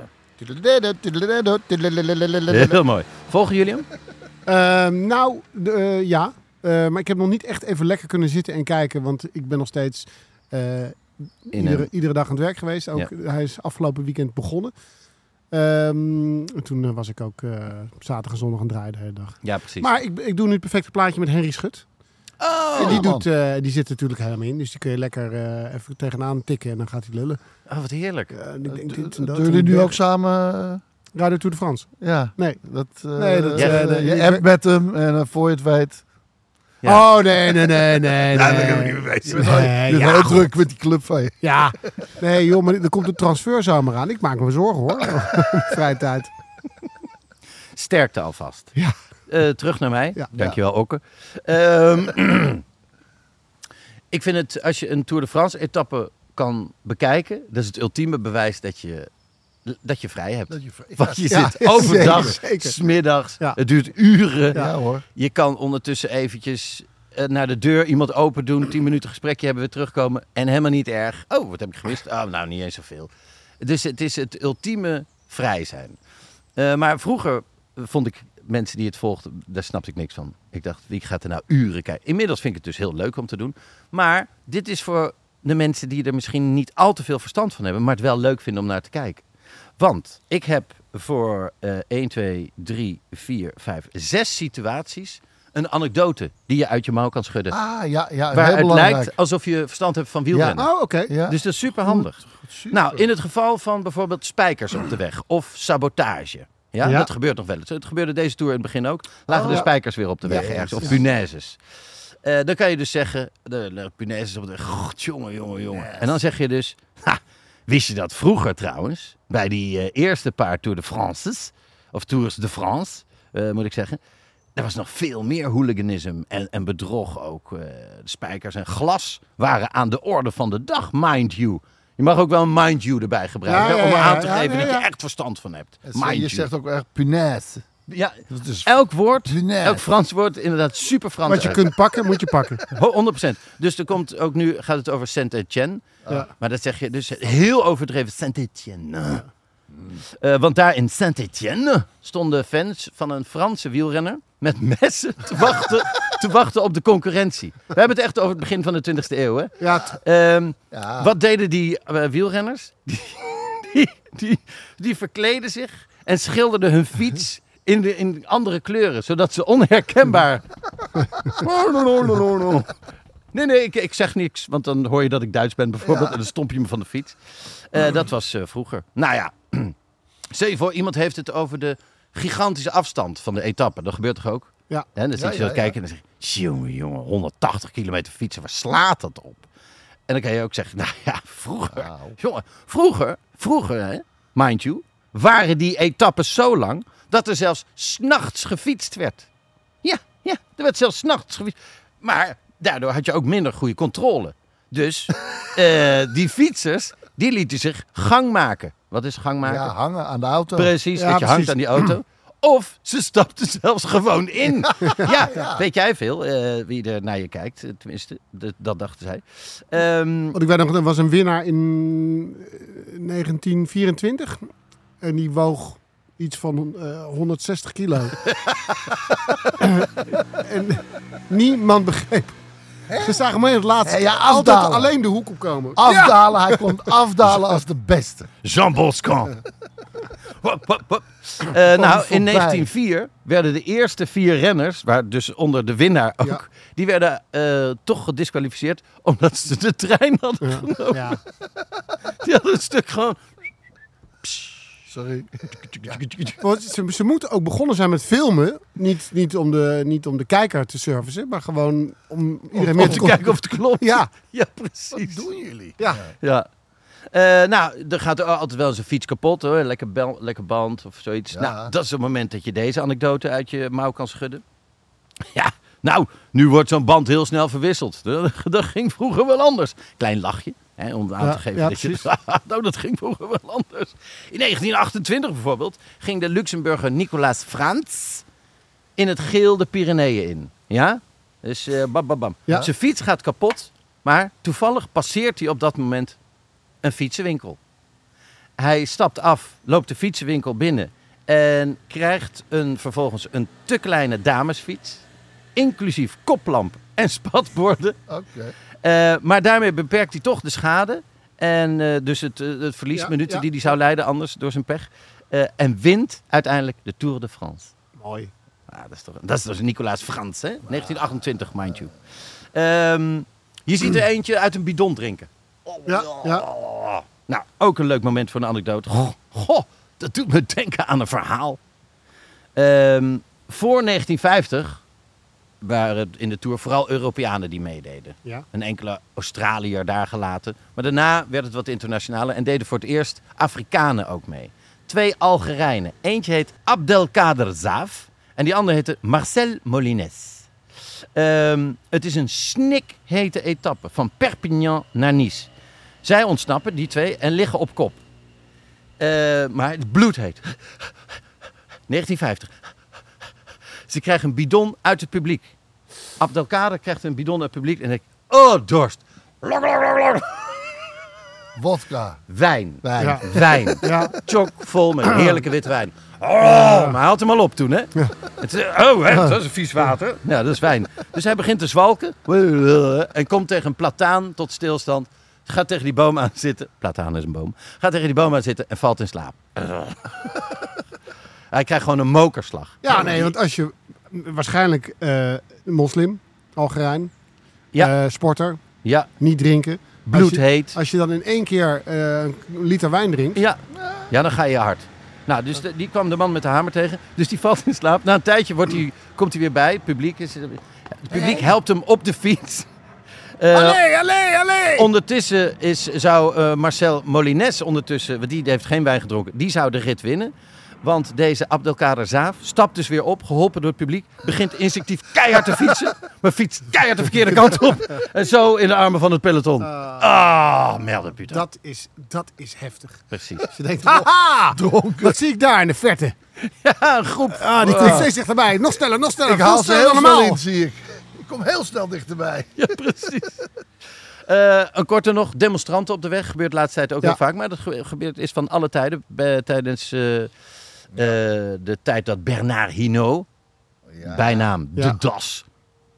C: Heel mooi. Volgen jullie hem?
D: Ehm, nou, de, eh, ja. Eh, maar ik heb nog niet echt even lekker kunnen zitten en kijken. Want ik ben nog steeds eh, iedere,
C: een-
D: iedere dag aan het werk geweest. Ook, Hij is afgelopen weekend begonnen. Ehm, en toen eh, was ik ook eh, zaterdag en zondag aan het draaien de hele dag.
C: Ja, precies. Oh,
D: Maar ik, ik doe nu het perfecte plaatje met Henry Schut. en die,
E: man.
D: doet, eh, die zit er natuurlijk helemaal in. Dus die kun je lekker eh, even tegenaan tikken en dan gaat hij lullen.
C: Oh, wat heerlijk.
D: Eh, en ik denk dit en dat
E: Doen
D: en
E: jullie nu
D: dat.
E: ook samen? eh,
D: Radio Tour de France.
E: Ja.
D: Nee.
E: Dat, eh,
D: Nee, dat,
E: eh,
C: eh,
D: nee,
E: je
D: die-
E: appt met hem en eh, voor je het weet.
C: Ja.
D: Oh, nee, nee, nee, nee. nee. Nee,
E: je bent
D: ja,
E: heel druk met die club van je.
D: Ja. Nee, joh, maar er komt een transferzomer aan. Ik maak me zorgen, hoor. Vrije tijd.
C: Sterkte alvast.
D: Ja.
C: Eh, terug naar mij.
D: Ja.
C: Dankjewel, Okke. Ehm, ik vind het, als je een Tour de France etappe kan bekijken, dat is het ultieme bewijs dat je, dat je vrij hebt.
E: Dat je vrij-
C: Want je
D: Ja,
C: zit
D: ja,
C: overdag,
D: zeker, zeker.
C: smiddags,
D: Ja.
C: het duurt uren.
E: Ja, hoor.
C: Je kan ondertussen eventjes eh, naar de deur iemand open doen, tien minuten gesprekje hebben, weer terugkomen en helemaal niet erg. Oh, wat heb ik gemist? Oh, nou, niet eens zoveel. Dus het is het ultieme vrij zijn. Eh, maar vroeger vond ik mensen die het volgden, daar snapte ik niks van. Ik dacht, wie gaat er nou uren kijken? Inmiddels vind ik het dus heel leuk om te doen. Maar dit is voor de mensen die er misschien niet al te veel verstand van hebben, maar het wel leuk vinden om naar te kijken. Want ik heb voor eh 1, 2, 3, 4, 5, 6 situaties een anekdote die je uit je mouw kan schudden.
E: Ah, ja, ja. heel
C: waaruit
E: belangrijk.
C: lijkt alsof je verstand hebt van wielrennen.
D: Oh, oké.
E: Ja.
C: Dus dat is super handig.
E: super.
C: Nou, in het geval van bijvoorbeeld spijkers op de weg of sabotage. Ja,
D: Ja.
C: dat gebeurt nog wel eens. Het gebeurde deze tour in het begin ook. Lagen
D: Oh,
C: de
D: ja.
C: spijkers weer op de weg
E: Nee,
C: ergens, of
E: ja.
C: punaises. Eh, dan kan je dus zeggen, de, de punaises op de weg, god, jongen, jongen, jongen. En dan zeg je dus, ha, wist je dat vroeger trouwens, bij die eh, eerste paar Tour de Frances, of Tours de France, eh, moet ik zeggen, er was nog veel meer hooliganisme en, en bedrog ook. eh, spijkers en glas waren aan de orde van de dag, mind you. Je mag ook wel een mind you erbij gebruiken
D: Ja, ja,
C: om
D: ja,
C: aan te
D: ja,
C: geven
D: ja,
C: dat
D: ja.
C: je echt verstand van hebt.
E: En
C: Mind
E: je
C: you.
E: zegt ook echt punaise.
C: ja,
E: Dat is
C: elk woord,
E: Punaise.
C: elk Frans woord, inderdaad super Frans.
D: Wat je
C: uit.
D: kunt pakken, moet je pakken.
C: Ho- 100%. Dus er komt ook nu, gaat het over Saint-Etienne.
D: Ja.
C: Maar dat zeg je dus heel overdreven, Saint-Etienne. Eh, want daar in Saint-Etienne stonden fans van een Franse wielrenner met messen te wachten, te wachten op de concurrentie. We hebben het echt over het begin van de 20e eeuw. Hè?
D: Ja, t-
C: Ehm,
E: Ja.
C: Wat deden die eh, wielrenners? Die, die, die, die verkleden zich en schilderden hun fiets in, de, in andere kleuren, zodat ze onherkenbaar. No, Oh, no, no, no, no, no. Nee, nee, ik, ik zeg niks, want dan hoor je dat ik Duits ben bijvoorbeeld en dan stomp je me van de fiets. Eh, dat was eh, vroeger. Nou ja, stel je voor, iemand heeft het over de gigantische afstand van de etappe. Dat gebeurt toch ook?
D: Ja.
C: Hè, dan zit
E: Ja,
C: je
E: ja,
C: zo te
E: ja.
C: kijken en dan zeg je, jongen, jongen, 180 kilometer fietsen, waar slaat dat op? En dan kan je ook zeggen, nou ja, vroeger,
E: Wauw.
C: jongen, vroeger, vroeger, hè, mind you, waren die etappes zo lang dat er zelfs 's nachts gefietst werd. Ja, ja, er werd zelfs 's nachts gefietst. Maar daardoor had je ook minder goede controle. Dus eh, die fietsers, die lieten zich gang maken. Wat is gang maken?
E: Ja, hangen aan de auto.
C: Precies,
D: Ja,
C: dat je hangt
D: precies.
C: aan die auto. Of ze stapten zelfs gewoon in. Ja, weet jij veel, eh, wie er naar je kijkt. eh, Tenminste, dat- dat dachten zij. Ehm,
D: Want ik weet nog, er was een winnaar in eh, 1924. En die woog iets van eh, 160 kilo. en niemand begreep. Ze zagen me in het laatste.
E: Hé, ja,
D: altijd
E: afdalen.
D: alleen de hoek opkomen.
E: Afdalen, hij komt afdalen als de beste.
C: Jean Boscan. Hop, hop, hop. Eh, nou, in
E: voorbij.
C: 1904 werden de eerste vier renners, waar dus onder de winnaar ook,
D: Ja.
C: die werden eh, toch gedisqualificeerd omdat ze de trein hadden genomen.
D: Ja.
C: Die hadden een stuk gewoon.
E: Sorry.
D: Want ze, ze moeten ook begonnen zijn met filmen. Niet, niet, om de, niet om iedereen te servicen, maar gewoon om
C: Om,
D: iedereen
C: om
D: meer
C: te
D: kon-
C: kijken of het klopt.
D: Ja.
C: ja precies.
E: jullie?
D: Ja.
C: Ja. Eh, nou, er gaat altijd wel eens een fiets kapot hoor. Lekker, bel, lekker band of zoiets.
E: Ja.
C: Nou, dat is het moment dat je deze anekdote uit je mouw kan schudden. Ja, nou, nu wordt zo'n band heel snel verwisseld. Dat, dat ging vroeger wel anders. Klein lachje, hè, om aan
D: Ja,
C: te geven
D: ja,
C: dat je... nou, dat ging vroeger wel anders. In 1928 bijvoorbeeld ging de Luxemburger Nicolaas Frans in het geel de Pyreneeën in. Ja? Dus eh bam, bam, bam.
D: Ja.
C: Zijn fiets gaat kapot, maar toevallig passeert hij op dat moment een fietsenwinkel. Hij stapt af, loopt de fietsenwinkel binnen en krijgt een, vervolgens een te kleine damesfiets, inclusief koplamp en spatborden.
E: Oké.
C: Eh, maar daarmee beperkt hij toch de schade. En eh, dus het, eh, het verlies
D: Ja,
C: minuten
D: ja.
C: die hij zou leiden anders door zijn pech. Eh, en wint uiteindelijk de Tour de France.
D: Mooi.
C: Ah, dat, is toch, dat is dus Nicolaas Frans, hè? 1928, mind you. Ehm, je ziet er eentje uit een bidon drinken.
D: Ja, ja.
C: Oh, nou, ook een leuk moment voor een anekdote. Goh, goh, dat doet me denken aan een verhaal. Ehm, voor 1950 waren het in de Tour vooral Europeanen die meededen.
D: Ja.
C: Een enkele Australiër daar gelaten. Maar daarna werd het wat internationaler en deden voor het eerst Afrikanen ook mee. Twee Algerijnen. Eentje heet Abdelkader Zaaf en die andere heette Marcel Molines. Ehm, het is een snikhete etappe van Perpignan naar Nice. Zij ontsnappen, die twee, en liggen op kop. Eh, maar het bloed heet. 1950. Ze krijgen een bidon uit het publiek. Abdelkader krijgt een bidon uit het publiek en denkt... Oh, dorst. Lok, lok, lok, lok.
E: Wodka.
C: Wijn.
E: Wijn.
D: Ja.
C: Wijn.
D: Ja.
C: Chock vol met heerlijke witte wijn. Oh, maar hij had hem al op toen, hè? Het, eh, oh, hè, dat is een vies water. Ja, dat is wijn. Dus hij begint te zwalken en komt tegen een plataan tot stilstand. Gaat tegen die boom aan zitten. Plataan is een boom. Gaat tegen die boom aan zitten en valt in slaap. Hij krijgt gewoon een mokerslag.
D: Ja, nee, want als je mm, waarschijnlijk eh, moslim, Algerijn,
C: Ja.
D: eh, sporter,
C: Ja,
D: niet drinken.
C: bloed
D: Als je,
C: heet.
D: als je dan in één keer eh, een liter wijn drinkt,
C: Ja. ja, dan ga je hard. Nou, dus de- die kwam de man met de hamer tegen. Dus die valt in slaap. Na een tijdje wordt hij, komt hij weer bij. Het publiek, is, eh, het publiek helpt hem op de fiets. Eh,
D: allee, allee!
C: ondertussen is, zou eh, Marcel Molines ondertussen... Want die heeft geen wijn gedronken. Die zou de rit winnen. Want deze Abdelkader Zaaf stapt dus weer op, geholpen door het publiek. Begint instinctief keihard te fietsen. Maar fietst keihard de verkeerde kant op. En zo in de armen van het peloton. Ah, melden Pieter.
D: Dat is, dat is heftig.
C: Precies.
D: Ze denkt, haha, wat zie ik daar in de verte?
C: Ja, een groep. Eh,
D: Ah, die komt steeds dichterbij. Nog sneller, nog sneller.
E: Ik
D: veel
E: haal ze heel
D: sneller dan
E: snel
D: normaal.
E: in, zie ik. Ik kom heel snel dichterbij.
C: Ja, precies. Eh, een korte nog, demonstranten op de weg. Gebeurt de laatste tijd ook
D: Ja.
C: heel vaak. Maar dat gebe- gebeurt is van alle tijden. Bij- tijdens eh, eh, de tijd dat Bernard Hinault, bijnaam
D: Ja.
C: De Das.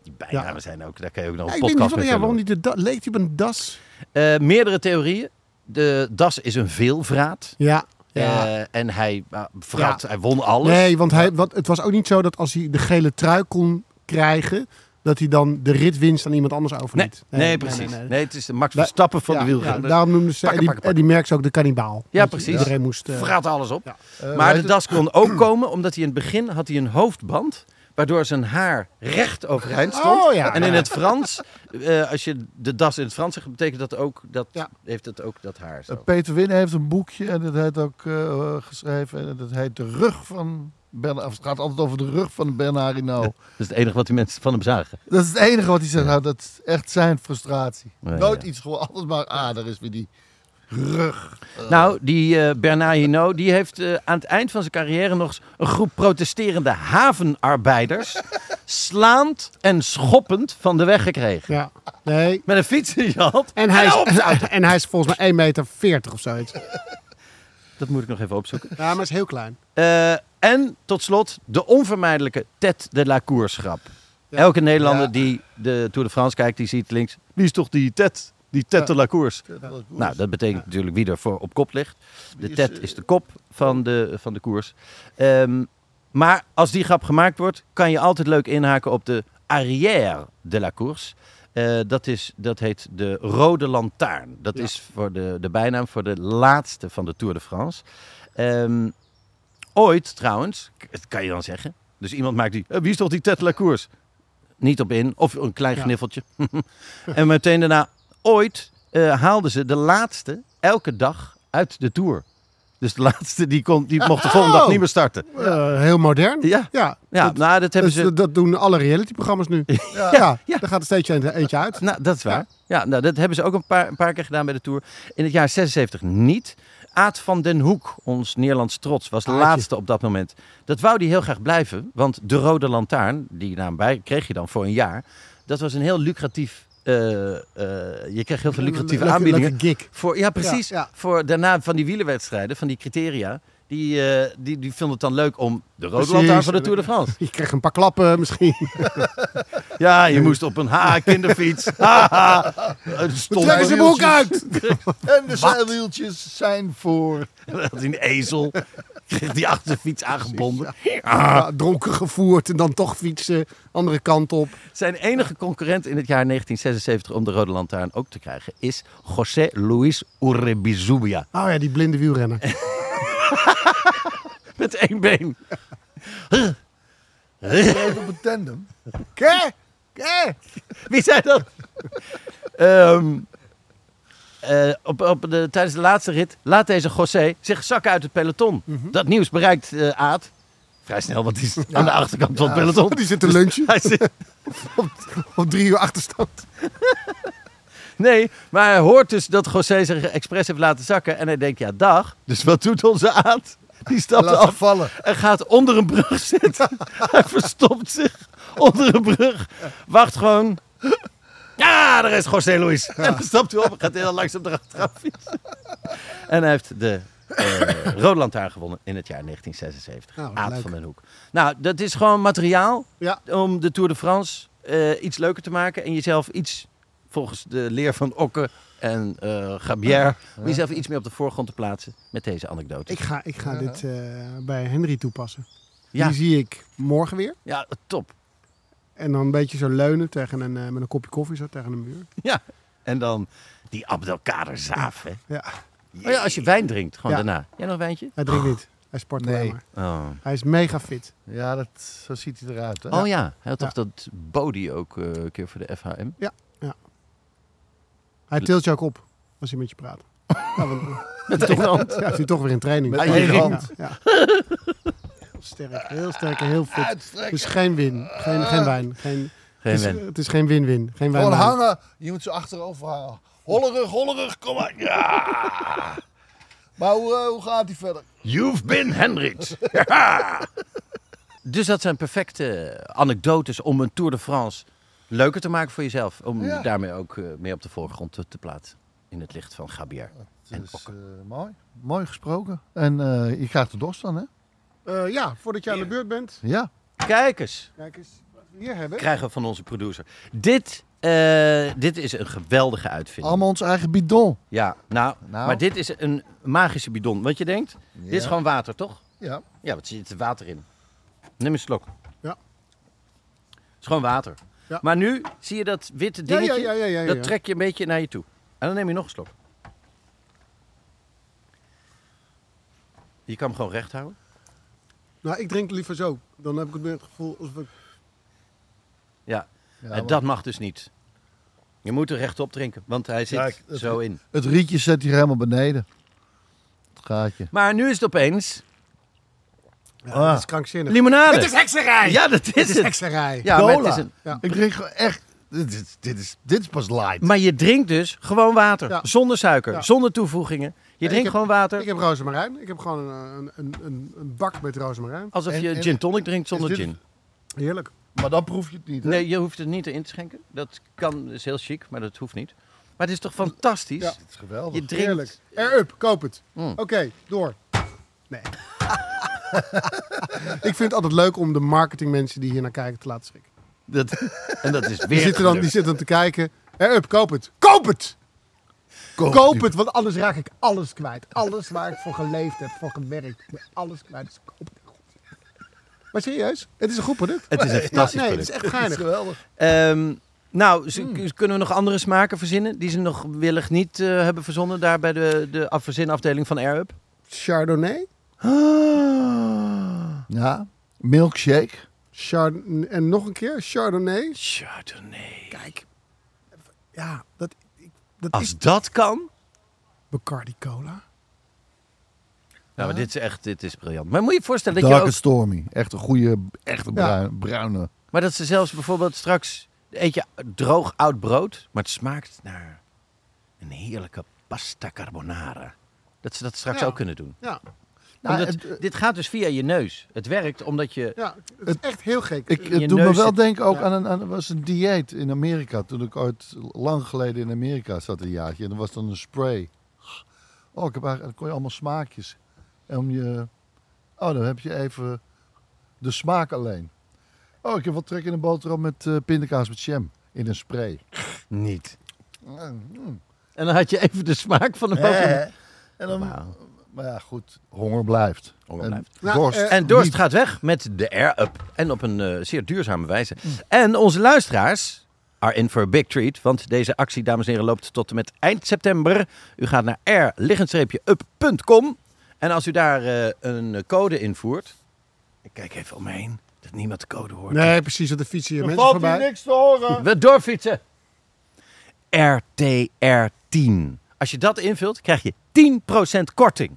C: Die bijnamen
D: Ja.
C: zijn ook, daar kan je ook nog
D: Ja,
C: een
D: ik weet niet
C: podcast
D: van,
C: mee
D: ja, waarom
C: vullen.
D: die de da- leek die op een das?
C: Eh, meerdere theorieën. De Das is een veelvraat.
D: Ja. ja.
C: Eh, en hij, eh, vrat, hij won alles.
D: nee, want hij, wat, het was ook niet zo dat als hij de gele trui kon krijgen, dat hij dan de ritwinst aan iemand anders
C: nee,
D: overliet.
C: nee, precies. Nee, het is de Max
D: Daar-
C: Verstappen van
D: Ja,
C: de wielrenner.
D: ja, daarom noemden ze,
C: Pakken,
D: en die,
C: pakken, pakken.
D: en die merk ze ook de kannibaal.
C: Ja,
D: Want
C: precies.
D: Iedereen moest... eh,
C: Vraat alles op.
E: Eh,
C: maar
E: weet
C: de
E: je-
C: das kon ook komen omdat hij in het begin had hij een hoofdband. Waardoor zijn haar recht overeind stond.
D: Oh, ja.
C: En in het Frans, eh, als je de das in het Frans zegt, betekent dat ook dat,
D: Ja.
C: heeft dat, ook dat haar. Zo.
E: Eh, Peter Winnen heeft een boekje en dat heet ook eh, geschreven. En dat heet De Rug van Bernard. Of het gaat altijd over de rug van Bernard Hinault.
C: Dat is het enige wat die mensen van hem zagen.
E: Dat is het enige wat hij zegt. Nou, dat is echt zijn frustratie.
C: Ja,
E: Nooit
C: ja.
E: iets gewoon. Altijd maar, ah, daar is weer die.
C: Nou, die eh Bernard Hinault, die heeft eh, aan het eind van zijn carrière nog eens een groep protesterende havenarbeiders slaand en schoppend van de weg gekregen.
D: ja, nee.
C: Met een fiets in je hand.
D: En hij, is, en hij is volgens mij 1,40 meter of zoiets.
C: Dat moet ik nog even opzoeken.
D: Ja, maar is heel klein.
C: Eh, en tot slot de onvermijdelijke Ted de la Courschap. Elke Nederlander
E: Ja.
C: die de Tour de France kijkt, die ziet links. Wie is toch die Ted? Die Ted de la Course. Nou, dat betekent natuurlijk wie er voor op kop ligt. De
E: is,
C: Ted
E: eh,
C: is de kop van de, van de koers. Ehm, maar als die grap gemaakt wordt, kan je altijd leuk inhaken op de arrière de la course. Eh, dat, is, dat heet de Rode Lantaarn. Dat
D: Ja.
C: is voor de, de bijnaam voor de laatste van de Tour de France. Ehm, ooit trouwens, k- dat kan je dan zeggen. Dus iemand maakt die, eh, wie is toch die Ted de la course? Niet op in, of een klein
D: Ja.
C: gniffeltje. en meteen daarna, ooit eh, haalden ze de laatste elke dag uit de Tour. Dus de laatste die, kon, die mocht de volgende dag niet meer starten.
D: Eh, heel modern.
C: Ja.
D: ja.
C: Ja,
D: dat,
C: nou, dat hebben
D: dus
C: ze.
D: dat- dat doen alle realityprogramma's nu. Ja, ja,
C: ja.
D: daar gaat er steeds eentje eentje uit.
C: Nou, dat is waar. Ja, nou, dat hebben ze ook een paar, een paar keer gedaan bij de Tour. In het jaar 76 niet. Aad van den Hoek, ons Nederlands trots, was de
D: Aadje.
C: laatste op dat moment. Dat wou hij heel graag blijven, want de Rode Lantaarn, die naam bij, kreeg je dan voor een jaar. Dat was een heel lucratief, eh, eh, je kreeg heel veel lucratieve
D: Leuke-
C: aanbiedingen.
D: leuke gig.
C: Voor, ja, precies.
D: Ja, ja.
C: Voor daarna van die wielerwedstrijden, van die criteria, die, eh, die, die vonden het dan leuk om de Rode
D: Precies.
C: Lantaarn van de Tour de France.
D: Je kreeg een paar klappen misschien.
C: Ja, je moest op een ha, kinderfiets. Ha, ha. Een stom.
D: Trek eens je broek uit!
E: En de zeilwieltjes zijn voor...
C: Dat had hij een ezel. Kreeg die achter zijn fiets aangebonden. Ah.
D: Ja, dronken gevoerd en dan toch fietsen. Andere kant op.
C: Zijn enige concurrent in het jaar 1976 om de Rode Lantaarn ook te krijgen is José Luis Urrebizubia.
D: Oh ja, die blinde wielrenner.
C: Met één been.
E: Leuk op een tandem.
D: Ké? Ké?
C: Wie zei dat? Ehm, eh, op, op de, tijdens de laatste rit laat deze José zich zakken uit het peloton.
D: Mhm.
C: Dat nieuws bereikt eh, Aad. Vrij snel, want die is aan de achterkant van het peloton. Dus
D: Die zit te lunchen
C: Hij zit,
D: op drie uur achterstand.
C: Nee, maar hij hoort dus dat José zich expres heeft laten zakken. En hij denkt, ja, dag. Dus wat doet onze aad? Die stapt
E: Laat ze
C: af
E: vallen.
C: en gaat onder een brug zitten. hij verstopt zich onder een brug. Wacht gewoon. Ja, daar is José Luis. En dan stapt hij op en gaat heel langzaam erachteraan fietsen. En hij heeft de eh Rode Lantaarn gewonnen in het jaar 1976.
D: Nou, wat
C: Aad
D: leuk.
C: van den Hoek. Nou, dat is gewoon materiaal
D: Ja.
C: om de Tour de France eh, iets leuker te maken en jezelf iets, volgens de leer van Okke en eh Gabier, om jezelf iets meer op de voorgrond te plaatsen met deze anekdote.
D: Ik ga, ik ga dit eh, bij Henry toepassen.
C: ja,
D: Die zie ik morgen weer.
C: ja, top.
D: En dan een beetje zo leunen tegen een, eh, met een kopje koffie zo tegen een muur.
C: Ja. En dan die Abdelkader Zaaf. Hè.
D: Ja.
C: Oh ja, als je wijn drinkt, gewoon
D: Ja.
C: daarna. Jij nog een wijntje?
D: Hij drinkt niet. Hij sport
E: Nee.
D: alleen maar.
C: Oh,
D: Hij is mega fit.
E: Ja, dat, zo ziet hij eruit. Hè?
C: oh ja, hij had
D: Ja.
C: toch dat Bodie ook eh, een keer voor de FHM?
D: Hij tilt je ook op als hij met je praat. Ja, want, eh,
C: Met één hand.
D: ja, is hij toch weer in training.
E: Met
D: Ja,
E: één
D: ja,
E: hand.
D: ja. Heel sterk, heel sterk en heel fit. Dus geen win, geen, geen wijn. Geen,
C: Geen
D: het, is,
C: win.
D: het is geen win-win. Geen wijn.
E: Gewoon hangen. Je moet ze achterover hangen. Hollerig, hollerig, kom maar. Ja. maar hoe, eh, hoe gaat hij verder?
C: You've been Henrit. Ja. dus dat zijn perfecte anekdotes om een Tour de France leuker te maken voor jezelf. Om
E: Ja.
C: daarmee ook eh, meer op de voorgrond te, te plaatsen. In het licht van Gabier. En
E: Het is eh, mooi. Mooi gesproken. En eh, je krijgt de dorst dan, hè?
D: Eh, ja, voordat je aan de beurt bent.
E: Ja.
C: Kijk eens,
D: Kijk eens wat we hier hebben.
C: krijgen we van onze producer. Dit, eh, dit is een geweldige uitvinding.
E: Allemaal ons eigen bidon.
C: Ja, nou,
E: Nou.
C: maar dit is een magische bidon. Want je denkt, dit is
E: Ja.
C: gewoon water, toch?
E: Ja.
C: Ja, wat zit er water in? Neem een slok.
D: Ja.
C: Het is gewoon water.
D: Ja.
C: Maar nu zie je dat witte
D: Ja, ja,
C: dingetje.
D: ja, ja, ja, ja.
C: Dat trek je een beetje naar je toe. En dan neem je nog een slok. Je kan hem gewoon recht houden.
D: Nou, ik drink liever zo. Dan heb ik het meer het gevoel alsof ik...
C: Ja. en
E: Ja, maar-
C: dat mag dus niet. Je moet er rechtop drinken, want hij zit
E: Kijk, het-
C: zo in.
E: Het rietje zet hier helemaal beneden. Het gaatje.
C: Maar nu is het opeens
D: Ja,
E: Ah.
D: Dat is krankzinnig.
C: limonade.
D: Het is hekserij!
C: ja, dat is
D: Het is
C: het.
D: hekserij.
C: Ja, maar, het
E: Cola.
C: is een,
D: Ja.
E: Ik drink gewoon echt... Dit is, dit, is, dit is pas light.
C: maar je drinkt dus gewoon water.
D: Ja.
C: Zonder suiker,
D: Ja.
C: zonder toevoegingen. Je
D: ik
C: drinkt
D: heb-
C: gewoon water.
D: Ik heb rozemarijn. Ik heb gewoon een, een, een, een bak met rozemarijn.
C: Alsof
E: En-
C: je
E: en-
C: gin tonic drinkt zonder
E: dit-
C: gin.
D: Heerlijk.
E: Maar dan proef je het niet, hè?
C: Nee, je hoeft het niet in te schenken. Dat kan, is heel chic, maar dat hoeft niet. Maar het is toch fantastisch?
D: Ja.
E: Het is
C: Je
E: geweldig.
C: drinkt... Mm.
D: Heerlijk. Air up, koop het. Oké, door. Nee. ik vind het altijd leuk om de marketingmensen die hier naar kijken te laten schrikken.
C: Dat, en dat is
D: Die
C: weer
D: zitten dan, die
C: gelukt.
D: zitten dan te kijken. Air up, koop het. Koop het!
E: Koop
D: Koop
E: die-
D: het, want anders raak ik alles kwijt. Alles waar ik voor geleefd heb, voor gewerkt. Ik ben alles kwijt. Dus koop het. Maar serieus, het is een goed product. eh,
C: Het is een fantastisch
D: nee,
C: product.
D: het is echt
E: Het
D: geinig.
E: is geweldig.
C: Ehm, nou, ze-
E: Hmm.
C: kunnen we nog andere smaken verzinnen die ze nog willig niet eh, hebben verzonnen daar bij de, de af- verzinafdeling van Airup?
D: Chardonnay
E: Ah. Ja. Milkshake.
D: Chard- en nog een keer Chardonnay.
C: Chardonnay.
D: Kijk, ja, dat, ik- dat is
C: Als dat kan,
D: Bacardi Cola.
C: Nou, maar dit is echt dit is briljant. Maar moet je je voorstellen dat je
E: Dark
C: ook...
E: and Stormy. Echt een goede, echt een
D: Ja.
E: bruin- bruine.
C: Maar dat ze zelfs bijvoorbeeld straks... Eet je droog oud brood, maar het smaakt naar een heerlijke pasta carbonara. Dat ze dat straks
D: Ja.
C: ook kunnen doen.
D: Ja, eh,
E: Nou,
C: Omdat-
E: het-
C: dit gaat dus via je neus. Het werkt omdat je...
D: ja, het is echt heel gek.
E: Ik,
C: In
E: het
C: je
E: doet me
C: neus
E: wel
C: zit-
E: denken ook
D: Ja.
E: aan een, aan, er was een dieet in Amerika. Toen ik ooit lang geleden in Amerika zat een jaartje. En er was dan een spray. Oh, ik heb eigenlijk, dan kon je allemaal smaakjes. En om je... Oh, dan heb je even de smaak alleen. Oh, ik heb wat trek in een boterham met eh, pindakaas met jam. In een spray.
C: Niet.
D: Mm.
C: En dan had je even de smaak van de
D: Eh.
C: boterham.
E: En dan,
C: Wauw.
E: Maar ja, goed. Honger blijft.
C: Honger
E: En
C: blijft.
D: Nou,
E: dorst.
D: eh,
C: En Dorst
E: niet.
C: gaat weg met de air-up. En op een eh, zeer duurzame wijze.
D: Mm.
C: En onze luisteraars are in for a big treat. Want deze actie, dames en heren, loopt tot en met eind september. U gaat naar air-up.com. En als u daar eh, een code invoert... Ik kijk even om me heen, dat niemand de code hoort.
D: Nee, precies, op de fiets hier mensen voorbij.
E: niks te horen.
C: We doorfietsen. RTR10. Als je dat invult, krijg je 10% korting.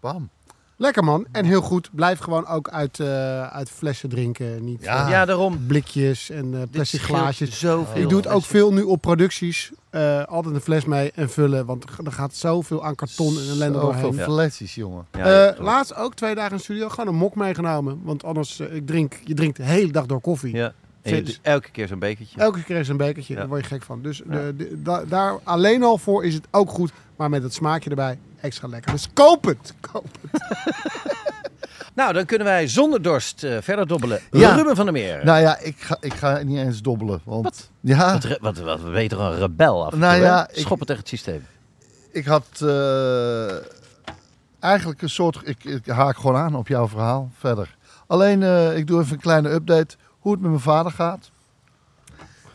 E: Bam.
D: Lekker man, en heel goed. Blijf gewoon ook uit, eh, uit flessen drinken, niet
E: Ja.
D: eh,
C: Ja, daarom.
D: blikjes en eh,
C: Dit
D: plastic
C: scheelt dus
D: glaasjes.
C: Zoveel.
D: Ik doe het ook veel nu op producties. Eh, altijd een fles mee en vullen. Want er gaat zoveel aan karton en ellende
E: Zoveel
D: doorheen.
E: flesjes, jongen.
C: Ja,
D: Eh,
C: ja, klopt.
D: laatst ook twee dagen in de studio. Gewoon een mok meegenomen. Want anders, eh, ik drink, je drinkt de hele dag door koffie.
C: Ja. En je doet elke keer zo'n bekertje.
D: Elke keer is een bekertje.
C: Ja.
D: Daar word je gek van. Dus de- de- da- daar alleen al voor is het ook goed. Maar met dat smaakje erbij, extra lekker. Dus koop het! Koop het.
C: Nou, dan kunnen wij zonder dorst eh, verder dobbelen.
E: Ja.
C: Ruben van der Meer.
E: Nou ja, ik ga, ik ga niet eens dobbelen. Want, Ja,
C: Wat, re- wat, wat, we weten een rebel af. en
E: Nou
C: toe, hè?
E: ja, ik-
C: Schoppen tegen het systeem.
E: ik had eh, eigenlijk een soort... Ik, ik haak gewoon aan op jouw verhaal verder. Alleen, eh, ik doe even een kleine update hoe het met mijn vader gaat.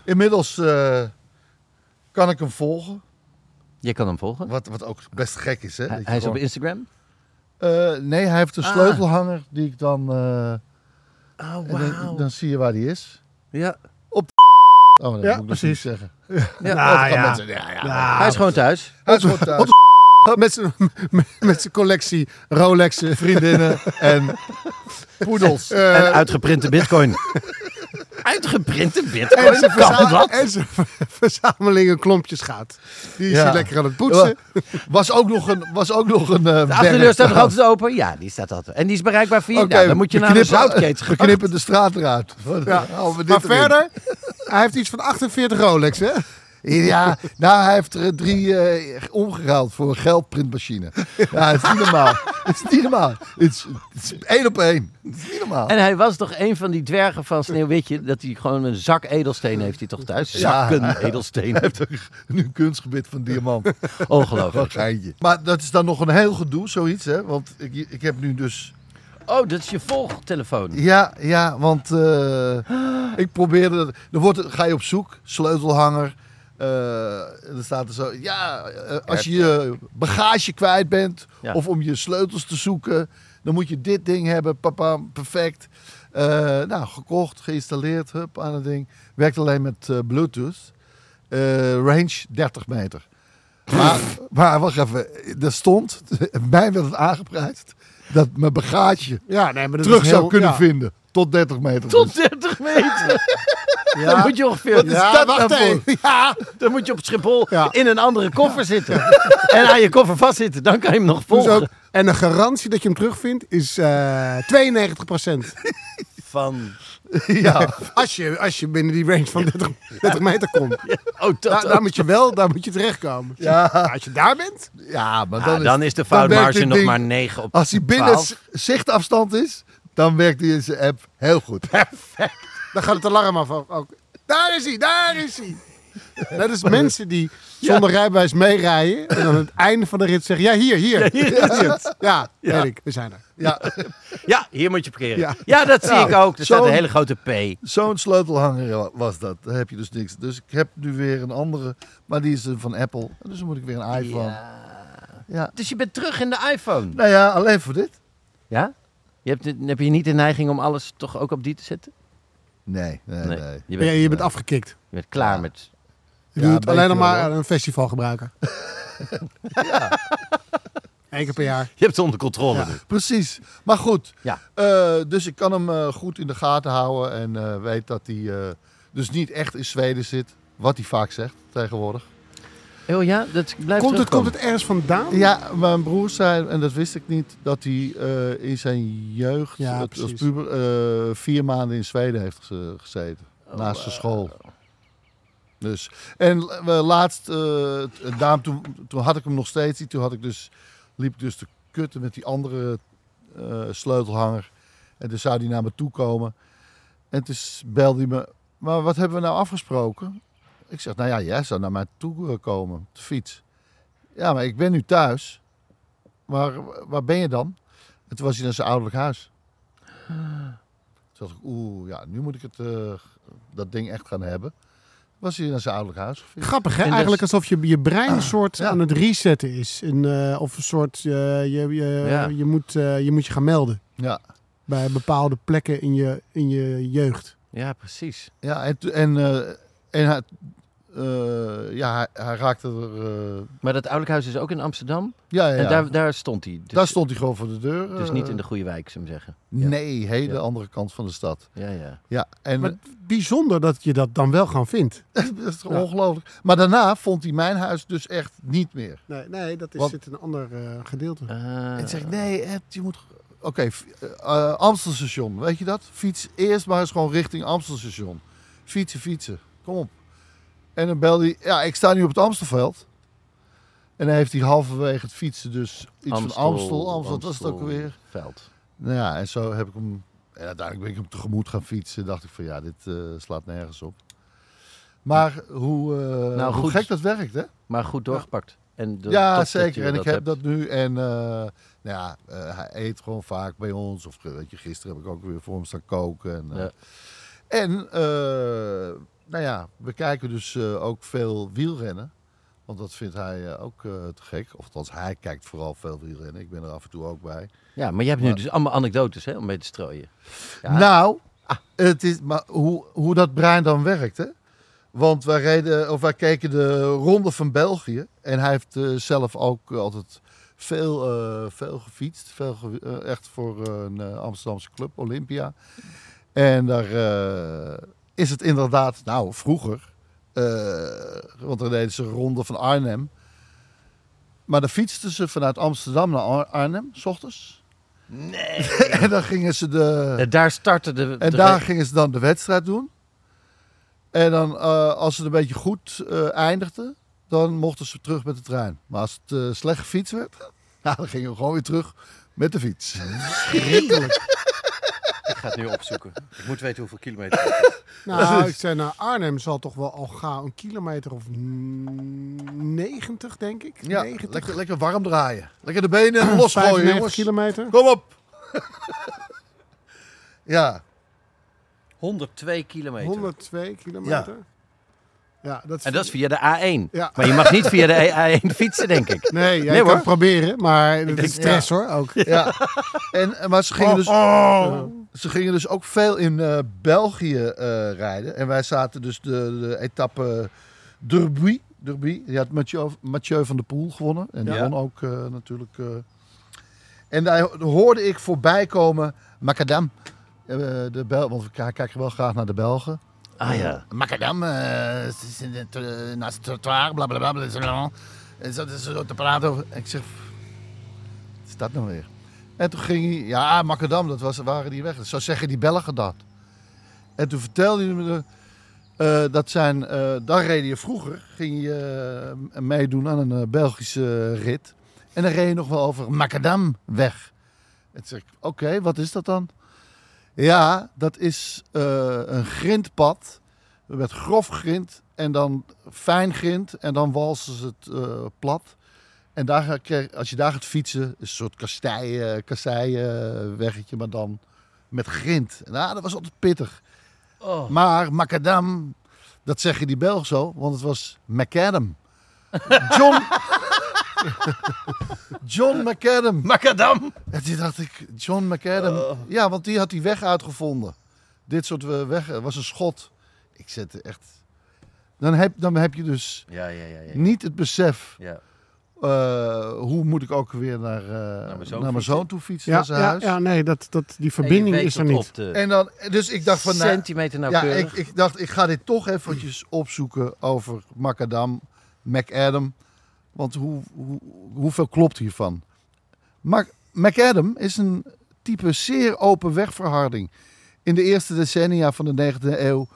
E: Inmiddels eh, kan ik hem volgen.
C: Je kan hem volgen.
E: Wat, wat ook best gek is, hè?
C: Hij,
E: dat je
C: hij is op
E: gewoon-
C: Instagram.
E: Eh, nee, hij heeft een
C: Ah.
E: sleutelhanger die ik dan... eh,
C: Oh,
E: en dan, dan zie je waar die is.
C: Ja.
E: Oh, dat
D: Ja,
E: moet ik dus niet
D: precies.
E: zeggen.
C: Ja.
E: Dat
D: Ah,
E: gaan
D: ja.
E: mensen- Nou ja, ja.
C: hij is gewoon thuis.
E: Hij is gewoon thuis.
D: Met zijn- Met zijn collectie eh, Rolexen.
E: vriendinnen en poedels. Eh,
C: en uitgeprinte bitcoin. uitgeprinte
D: En
C: bitcoin?
D: zijn,
C: Kan
D: verza-
C: dat?
D: en zijn ver- verzamelingen klompjes gaat. Die is
E: Ja.
D: hij lekker aan het poetsen.
E: was ook nog een. Was ook nog een eh,
C: De achterdeur
E: berg
C: staat nog
E: trouwens.
C: altijd open? Ja, die staat altijd. En die is bereikbaar via...
E: Oké,
C: nou, dan moet je
E: we
C: naar de
E: knippen-
C: zoutketen
E: We knippen de straat eruit. eh, Ja,
D: Maar verder, hij heeft iets van 48 Rolex, hè?
E: Ja, nou, hij heeft er drie eh, omgeruild voor een geldprintmachine. Ja, het is niet normaal. Het is niet normaal. Het is, het is één op één. Het is niet normaal.
C: En hij was toch een van die dwergen van Sneeuwwitje... dat hij gewoon een zak edelsteen heeft hij toch thuis?
E: Ja.
C: Zakken edelsteen.
E: Nu een kunstgebied van diamant. Wat een
C: Ongelooflijk.
E: geintje. Maar dat is dan nog een heel gedoe, zoiets, hè? Want ik, ik heb nu dus
C: Oh, dat is je volgtelefoon.
E: Ja, ja, want eh, ik probeerde. dat- Er wordt, ga je op zoek, sleutelhanger. eh, en dan staat er zo. Ja, eh, als je je bagage kwijt bent
C: Ja.
E: of om je sleutels te zoeken, dan moet je dit ding hebben. Papa, perfect. Eh, nou, gekocht, geïnstalleerd, hup, aan het ding. Werkt alleen met eh, Bluetooth. Eh, range 30 meter. Maar, maar wacht even, er stond, mij werd het aangeprijsd, dat mijn bagage
D: Ja, nee, maar dat
E: terug
D: is
E: zou
D: heel-
E: kunnen
D: ja.
E: vinden. Tot 30 meter.
C: Tot
E: dus.
C: 30 meter. Dan moet je ongeveer...
E: Wat is dat
D: wacht
E: nou voor?
D: even.
C: Ja, dan moet je op Schiphol
D: Ja.
C: in een andere koffer zitten. En aan je koffer vastzitten. Dan kan je hem nog
D: Dus
C: volgen.
D: ook- en de garantie dat je hem terugvindt is eh 92%.
C: Van...
E: Ja.
D: Als je, als je binnen die range van 30, 30 meter komt.
C: Oh, dat
D: Daar,
E: Nou,
C: ook.
D: daar moet je wel, daar moet je terechtkomen.
E: Ja.
D: Als je daar bent,
E: ja, maar
C: Ah,
E: dan,
C: dan,
E: is,
C: is de
E: dan werkt
C: foutmarge
E: dit
C: nog
E: ding-
C: maar 9 op
E: Als hij binnen
C: 12.
E: z- zichtafstand is, dan werkt deze app heel goed.
D: dan gaat het alarm af. ook- ook. Daar is hij, daar is hij. Net als mensen die zonder rijbewijs meerijden en aan het einde van de rit zeggen: Ja, hier, hier. Ja, ja, weet ik, we zijn er.
E: Ja,
C: Ja, hier moet je parkeren. Ja,
D: Ja.
C: dat zie
E: Nou,
C: ik ook. Er staat een
E: zo'n-
C: hele grote P.
E: zo'n sleutelhanger was dat. Daar heb je dus niks. Dus ik heb nu weer een andere, maar die is eh, van Apple. Dus dan moet ik weer een iPhone. Ja.
C: Dus je bent terug in de iPhone.
E: Nou ja, alleen voor dit?
C: Ja? Je hebt, heb je niet de neiging om alles toch ook op die te zetten?
E: Nee, nee, nee.
C: Je, bent, eh,
D: Ja, je bent afgekikt.
C: je bent klaar met...
D: Je
E: Ja,
D: doet
E: een
D: het alleen nog
E: beetje
D: maar
E: wel,
D: aan een festival gebruiken. Eén keer per jaar.
C: Je hebt het onder controle
D: Ja.
C: nu.
E: Precies. Maar goed.
C: Ja.
E: Eh, dus ik kan hem eh, goed in de gaten houden. En eh, weet dat hij eh, dus niet echt in Zweden zit. Wat hij vaak zegt tegenwoordig.
C: Oh ja, dat blijft
D: Komt het, komt
C: terugkomen.
D: het ergens vandaan?
E: Ja, mijn broer zei, en dat wist ik niet, dat hij eh, in zijn jeugd
D: Ja,
E: dat- als
D: precies.
E: puber eh, vier maanden in Zweden heeft geze- gezeten. naast zijn school. Dus. En we laatst, eh, t- daarom, toen, toen had ik hem nog steeds niet. Toen had ik dus, liep ik dus te kutten met die andere eh, sleutelhanger. En toen zou die naar me toe komen. En toen s- belde hij me, maar wat hebben we nou afgesproken? Ik zeg, nou ja, jij zou naar mij toe eh, komen, op de fiets. Ja, maar ik ben nu thuis. Maar w- waar ben je dan? En toen was hij naar zijn ouderlijk huis. Toen dacht ik, oeh, ja, nu moet ik het, eh, dat ding echt gaan hebben. Was hij naar zijn ouderlijk huis gefietst.
D: Grappig, hè?
C: En
D: Eigenlijk
C: dus-
D: alsof je je brein een soort
E: ja.
D: aan het resetten is. En, eh, of een soort, eh, je, je,
C: Ja.
D: je, moet, eh, je moet je gaan melden
E: Ja,
D: bij bepaalde plekken in je, in je jeugd.
C: Ja, precies.
E: ja en, to- en, eh, en hij, eh, ja, hij, hij raakte er... eh,
C: Maar dat ouderlijk huis is ook in Amsterdam.
E: ja, ja, ja.
C: En daar, daar stond hij. Dus,
E: daar stond hij gewoon voor de deur.
C: Dus
E: eh,
C: niet in de goede wijk, zou ik zeggen. Ja.
E: Nee, hele
C: Ja.
E: andere kant van de stad.
C: Ja, ja.
E: Ja, en
D: Maar bijzonder dat je dat dan wel gaan vindt.
E: dat is toch ongelooflijk. Maar daarna vond hij mijn huis dus echt niet meer.
D: Nee, nee dat is,
E: Want-
D: zit in een ander eh, gedeelte.
C: Ah.
E: En zeg ik, nee, Ed, je moet... Oké, f- eh, Amstelstation, weet je dat? Fiets eerst maar eens gewoon richting Amstelstation. Fietsen, fietsen, kom op. En dan belde hij, ja, ik sta nu op het Amstelveld. En dan heeft hij halverwege het fietsen dus iets van Amstel, Amstel, dat was het ook alweer.
C: Ah, Veld.
E: Nou ja, en zo heb ik hem... En uiteindelijk ben ik hem tegemoet gaan fietsen. dacht ik van, ja, dit eh, slaat nergens op. Maar hoe, eh,
C: Nou,
E: hoe
C: goed.
E: gek dat werkt, hè?
C: Maar goed doorgepakt. En de- top
E: Ja,
C: dat
E: zeker.
C: je
E: En ik heb
C: hebt.
E: dat nu. En eh, nou ja, eh, hij eet gewoon vaak bij ons. Of eh, weet je, gisteren heb ik ook weer voor hem staan koken. En, eh,
C: Ja.
E: en eh, nou ja, we kijken dus eh, ook veel wielrennen. Want dat vindt hij eh, ook eh, te gek. Of althans, hij kijkt vooral veel wielrennen. Ik ben er af en toe ook bij.
C: Ja, maar jij hebt nu dus allemaal anekdotes hè, om mee te strooien. Ja.
E: Nou, het is, maar hoe, hoe dat brein dan werkt, hè? Want wij, reden, of wij keken de Ronde van België. En hij heeft eh, zelf ook altijd veel, eh, veel gefietst. Veel ge- eh, echt voor een eh, Amsterdamse club, Olympia. En daar eh, is het inderdaad, nou vroeger, eh, want dan deden ze Ronde van Arnhem. Maar dan fietsten ze vanuit Amsterdam naar Ar- Arnhem, s ochtends. Nee. en dan gingen ze de...
C: En Eh, daar startte de...
E: En
C: de-
E: daar gingen ze dan de wedstrijd doen. En dan, eh, als ze het een beetje goed eh, eindigden, dan mochten ze terug met de trein. Maar als het eh, slecht gefietst werd, nou, dan gingen we gewoon weer terug met de fiets.
C: Ik ga het nu opzoeken. Ik moet weten hoeveel kilometer. het is.
D: Nou, ik zei, nou, Arnhem zal toch wel al gaan een kilometer of mm, 90, denk ik.
E: Ja,
D: 90,
E: lekker, lekker warm draaien. Lekker de benen losgooien,
D: 95
E: jongens.
D: kilometer.
E: Kom op! ja,
C: 102 kilometer.
D: 102 kilometer. Ja, dat
C: En dat is via de A1.
D: Ja.
C: Maar je mag niet via de A1 fietsen, denk ik.
D: Nee, jij
C: Nee,
D: kan
C: hoor.
D: het proberen, maar het is stress hoor ook.
E: ja. En, eh, maar ze gingen, dus, ze gingen dus ook veel in eh, België eh, rijden. En wij zaten dus de, de etappe Derby. Derby. Die had Mathieu, Mathieu van der Poel gewonnen. En die
C: Ja.
E: won ook eh, natuurlijk. eh. En daar hoorde ik voorbij komen Macadam. Eh, de Bel want we k- kijken wel graag naar de Belgen.
C: Ah ja.
E: Macadam, eh, ze is in het, eh, naast het trottoir, blablabla. Bla, bla, bla, en zo, dus zo te praten over. Ik zeg, wat is dat nou weer? En toen ging hij, ja, ah, Macadam, dat was, waren die weg. Zo zeggen die Belgen dat. En toen vertelde hij me eh, dat zijn, eh daar reed je vroeger, ging je eh, meedoen aan een eh, Belgische rit. En dan reed je nog wel over Macadam weg. En toen zeg ik, oké, wat is dat dan? Ja, dat is eh, een grindpad met grof grind en dan fijn grind en dan walsen ze het eh, plat. En daar, ga- krijg- als je daar gaat fietsen, is een soort kasteien, kasteien weggetje, maar dan met grind. Nou, dat was altijd pittig. Maar macadam, dat zeggen die Belgen zo, want het was macadam. John... John macadam.
C: Macadam!
E: En toen dacht ik, John McAdam.
C: Oh.
E: Ja, want die had die weg uitgevonden. Dit soort eh, weg eh, was een schot. Ik zette echt. Dan heb, dan heb je dus
C: Ja, ja, ja. ja.
E: niet het besef
C: ja.
E: eh, eh, hoe moet ik ook weer naar, eh,
C: mijn zoon
E: naar mijn
C: fietsen.
E: zoon toe fietsen,
D: Ja,
E: naar zijn
D: ja,
E: huis.
D: ja, nee, dat, dat, die verbinding is er niet.
E: En dan, dus ik dacht van, nou,
C: centimeter
E: ja,
C: nauwkeurig.
E: ik, ik dacht, ik ga dit toch eventjes opzoeken over Macadam, McAdam. Want hoe, hoe, hoeveel klopt hiervan? Mac, McAdam is een type zeer open wegverharding. In de eerste decennia van de 19e eeuw,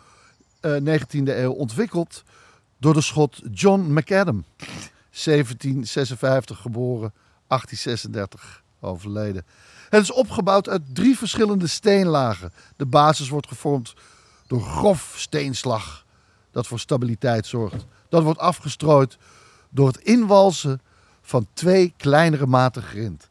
E: eh, 19e eeuw ontwikkeld door de schot John McAdam. 1756 geboren, 1836 overleden. Het is opgebouwd uit drie verschillende steenlagen. De basis wordt gevormd door grof steenslag dat voor stabiliteit zorgt. Dat wordt afgestrooid door het inwalsen van twee kleinere maten grind.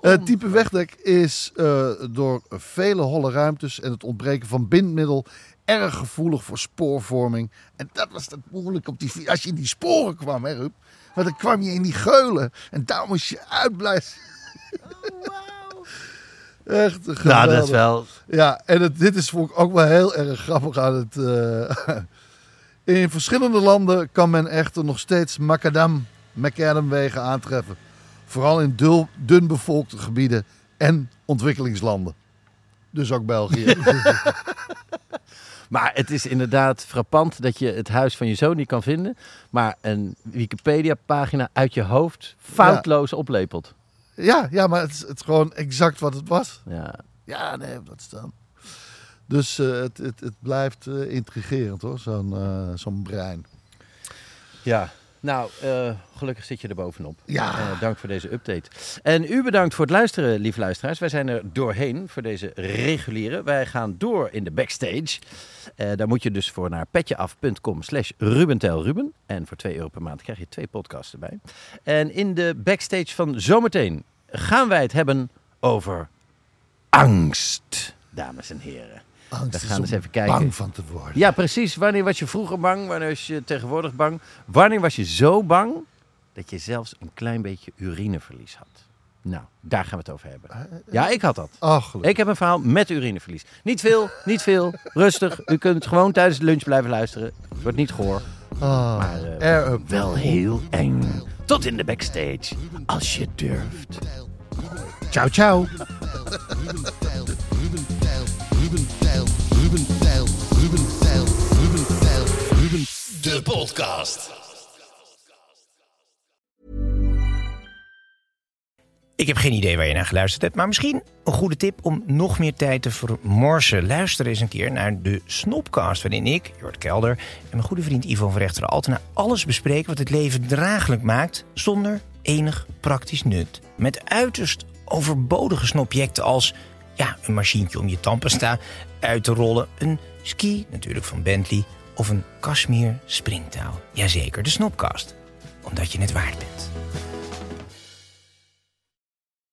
E: Het Eh, type wegdek is eh, door vele holle ruimtes en het ontbreken van bindmiddel erg gevoelig voor spoorvorming. En dat was het moeilijk op die fiets. Als je in die sporen kwam, hè, Rup? Want dan kwam je in die geulen en daar moest je uitblijven. Echt geweldig.
C: nou, dat is wel...
E: Ja, en het, dit is vond ik ook wel heel erg grappig aan het. eh, in verschillende landen kan men echter nog steeds macadam, macadamwegen aantreffen. Vooral in dul, dun bevolkte gebieden en ontwikkelingslanden. Dus ook België.
C: Maar het is inderdaad frappant dat je het huis van je zoon niet kan vinden. Maar een Wikipedia-pagina uit je hoofd foutloos oplepelt.
E: ja, ja, maar het is, het is gewoon exact wat het was.
C: Ja.
E: Ja, nee, dat staan. Dus eh, het, het, het blijft eh, intrigerend hoor, zo'n eh, zo'n brein.
C: ja. Nou, eh, gelukkig zit je er bovenop.
E: Ja.
C: Eh, dank voor deze update. En u bedankt voor het luisteren, lieve luisteraars. Wij zijn er doorheen voor deze reguliere. Wij gaan door in de backstage. Eh, daar moet je dus voor naar petjeaf.com slash rubentelruben. En voor 2 euro per maand krijg je twee podcasts erbij. En in de backstage van zometeen gaan wij het hebben over angst, dames en heren.
E: Angst
C: We
E: is
C: gaan
E: om
C: eens even kijken.
E: bang van te worden.
C: Ja, precies. Wanneer was je vroeger bang? Wanneer was je tegenwoordig bang? Wanneer was je zo bang dat je zelfs een klein beetje urineverlies had? Nou, daar gaan we het over
E: Eh,
C: hebben. Ja, ik had dat.
E: Ach, gelukkig.
C: Ik heb een verhaal met urineverlies. Niet veel, niet veel. Rustig. U kunt gewoon tijdens de lunch blijven luisteren. Het wordt niet gehoor.
E: Ah,
C: Maar eh,
E: air up.
C: wel heel eng. Tot in de backstage. Als je durft.
E: Ciao, ciao.
B: Ruben Tijl, Ruben Tijl, Ruben Tijl, Ruben Tijl, Ruben Tijl, Ruben Tijl, Ruben De podcast.
F: Ik heb geen idee waar je naar geluisterd hebt, maar misschien een goede tip om nog meer tijd te vermorsen. Luister eens een keer naar de Snopcast, waarin ik, Jort Kelder en mijn goede vriend Ivo van Rechteren Altena alles bespreken wat het leven draaglijk maakt zonder enig praktisch nut. Met uiterst overbodige snobjecten als ja, een machientje om je tandpasta uit te rollen, een ski natuurlijk van Bentley of een Kashmir springtouw. Jazeker, de Snopcast, omdat je het waard bent.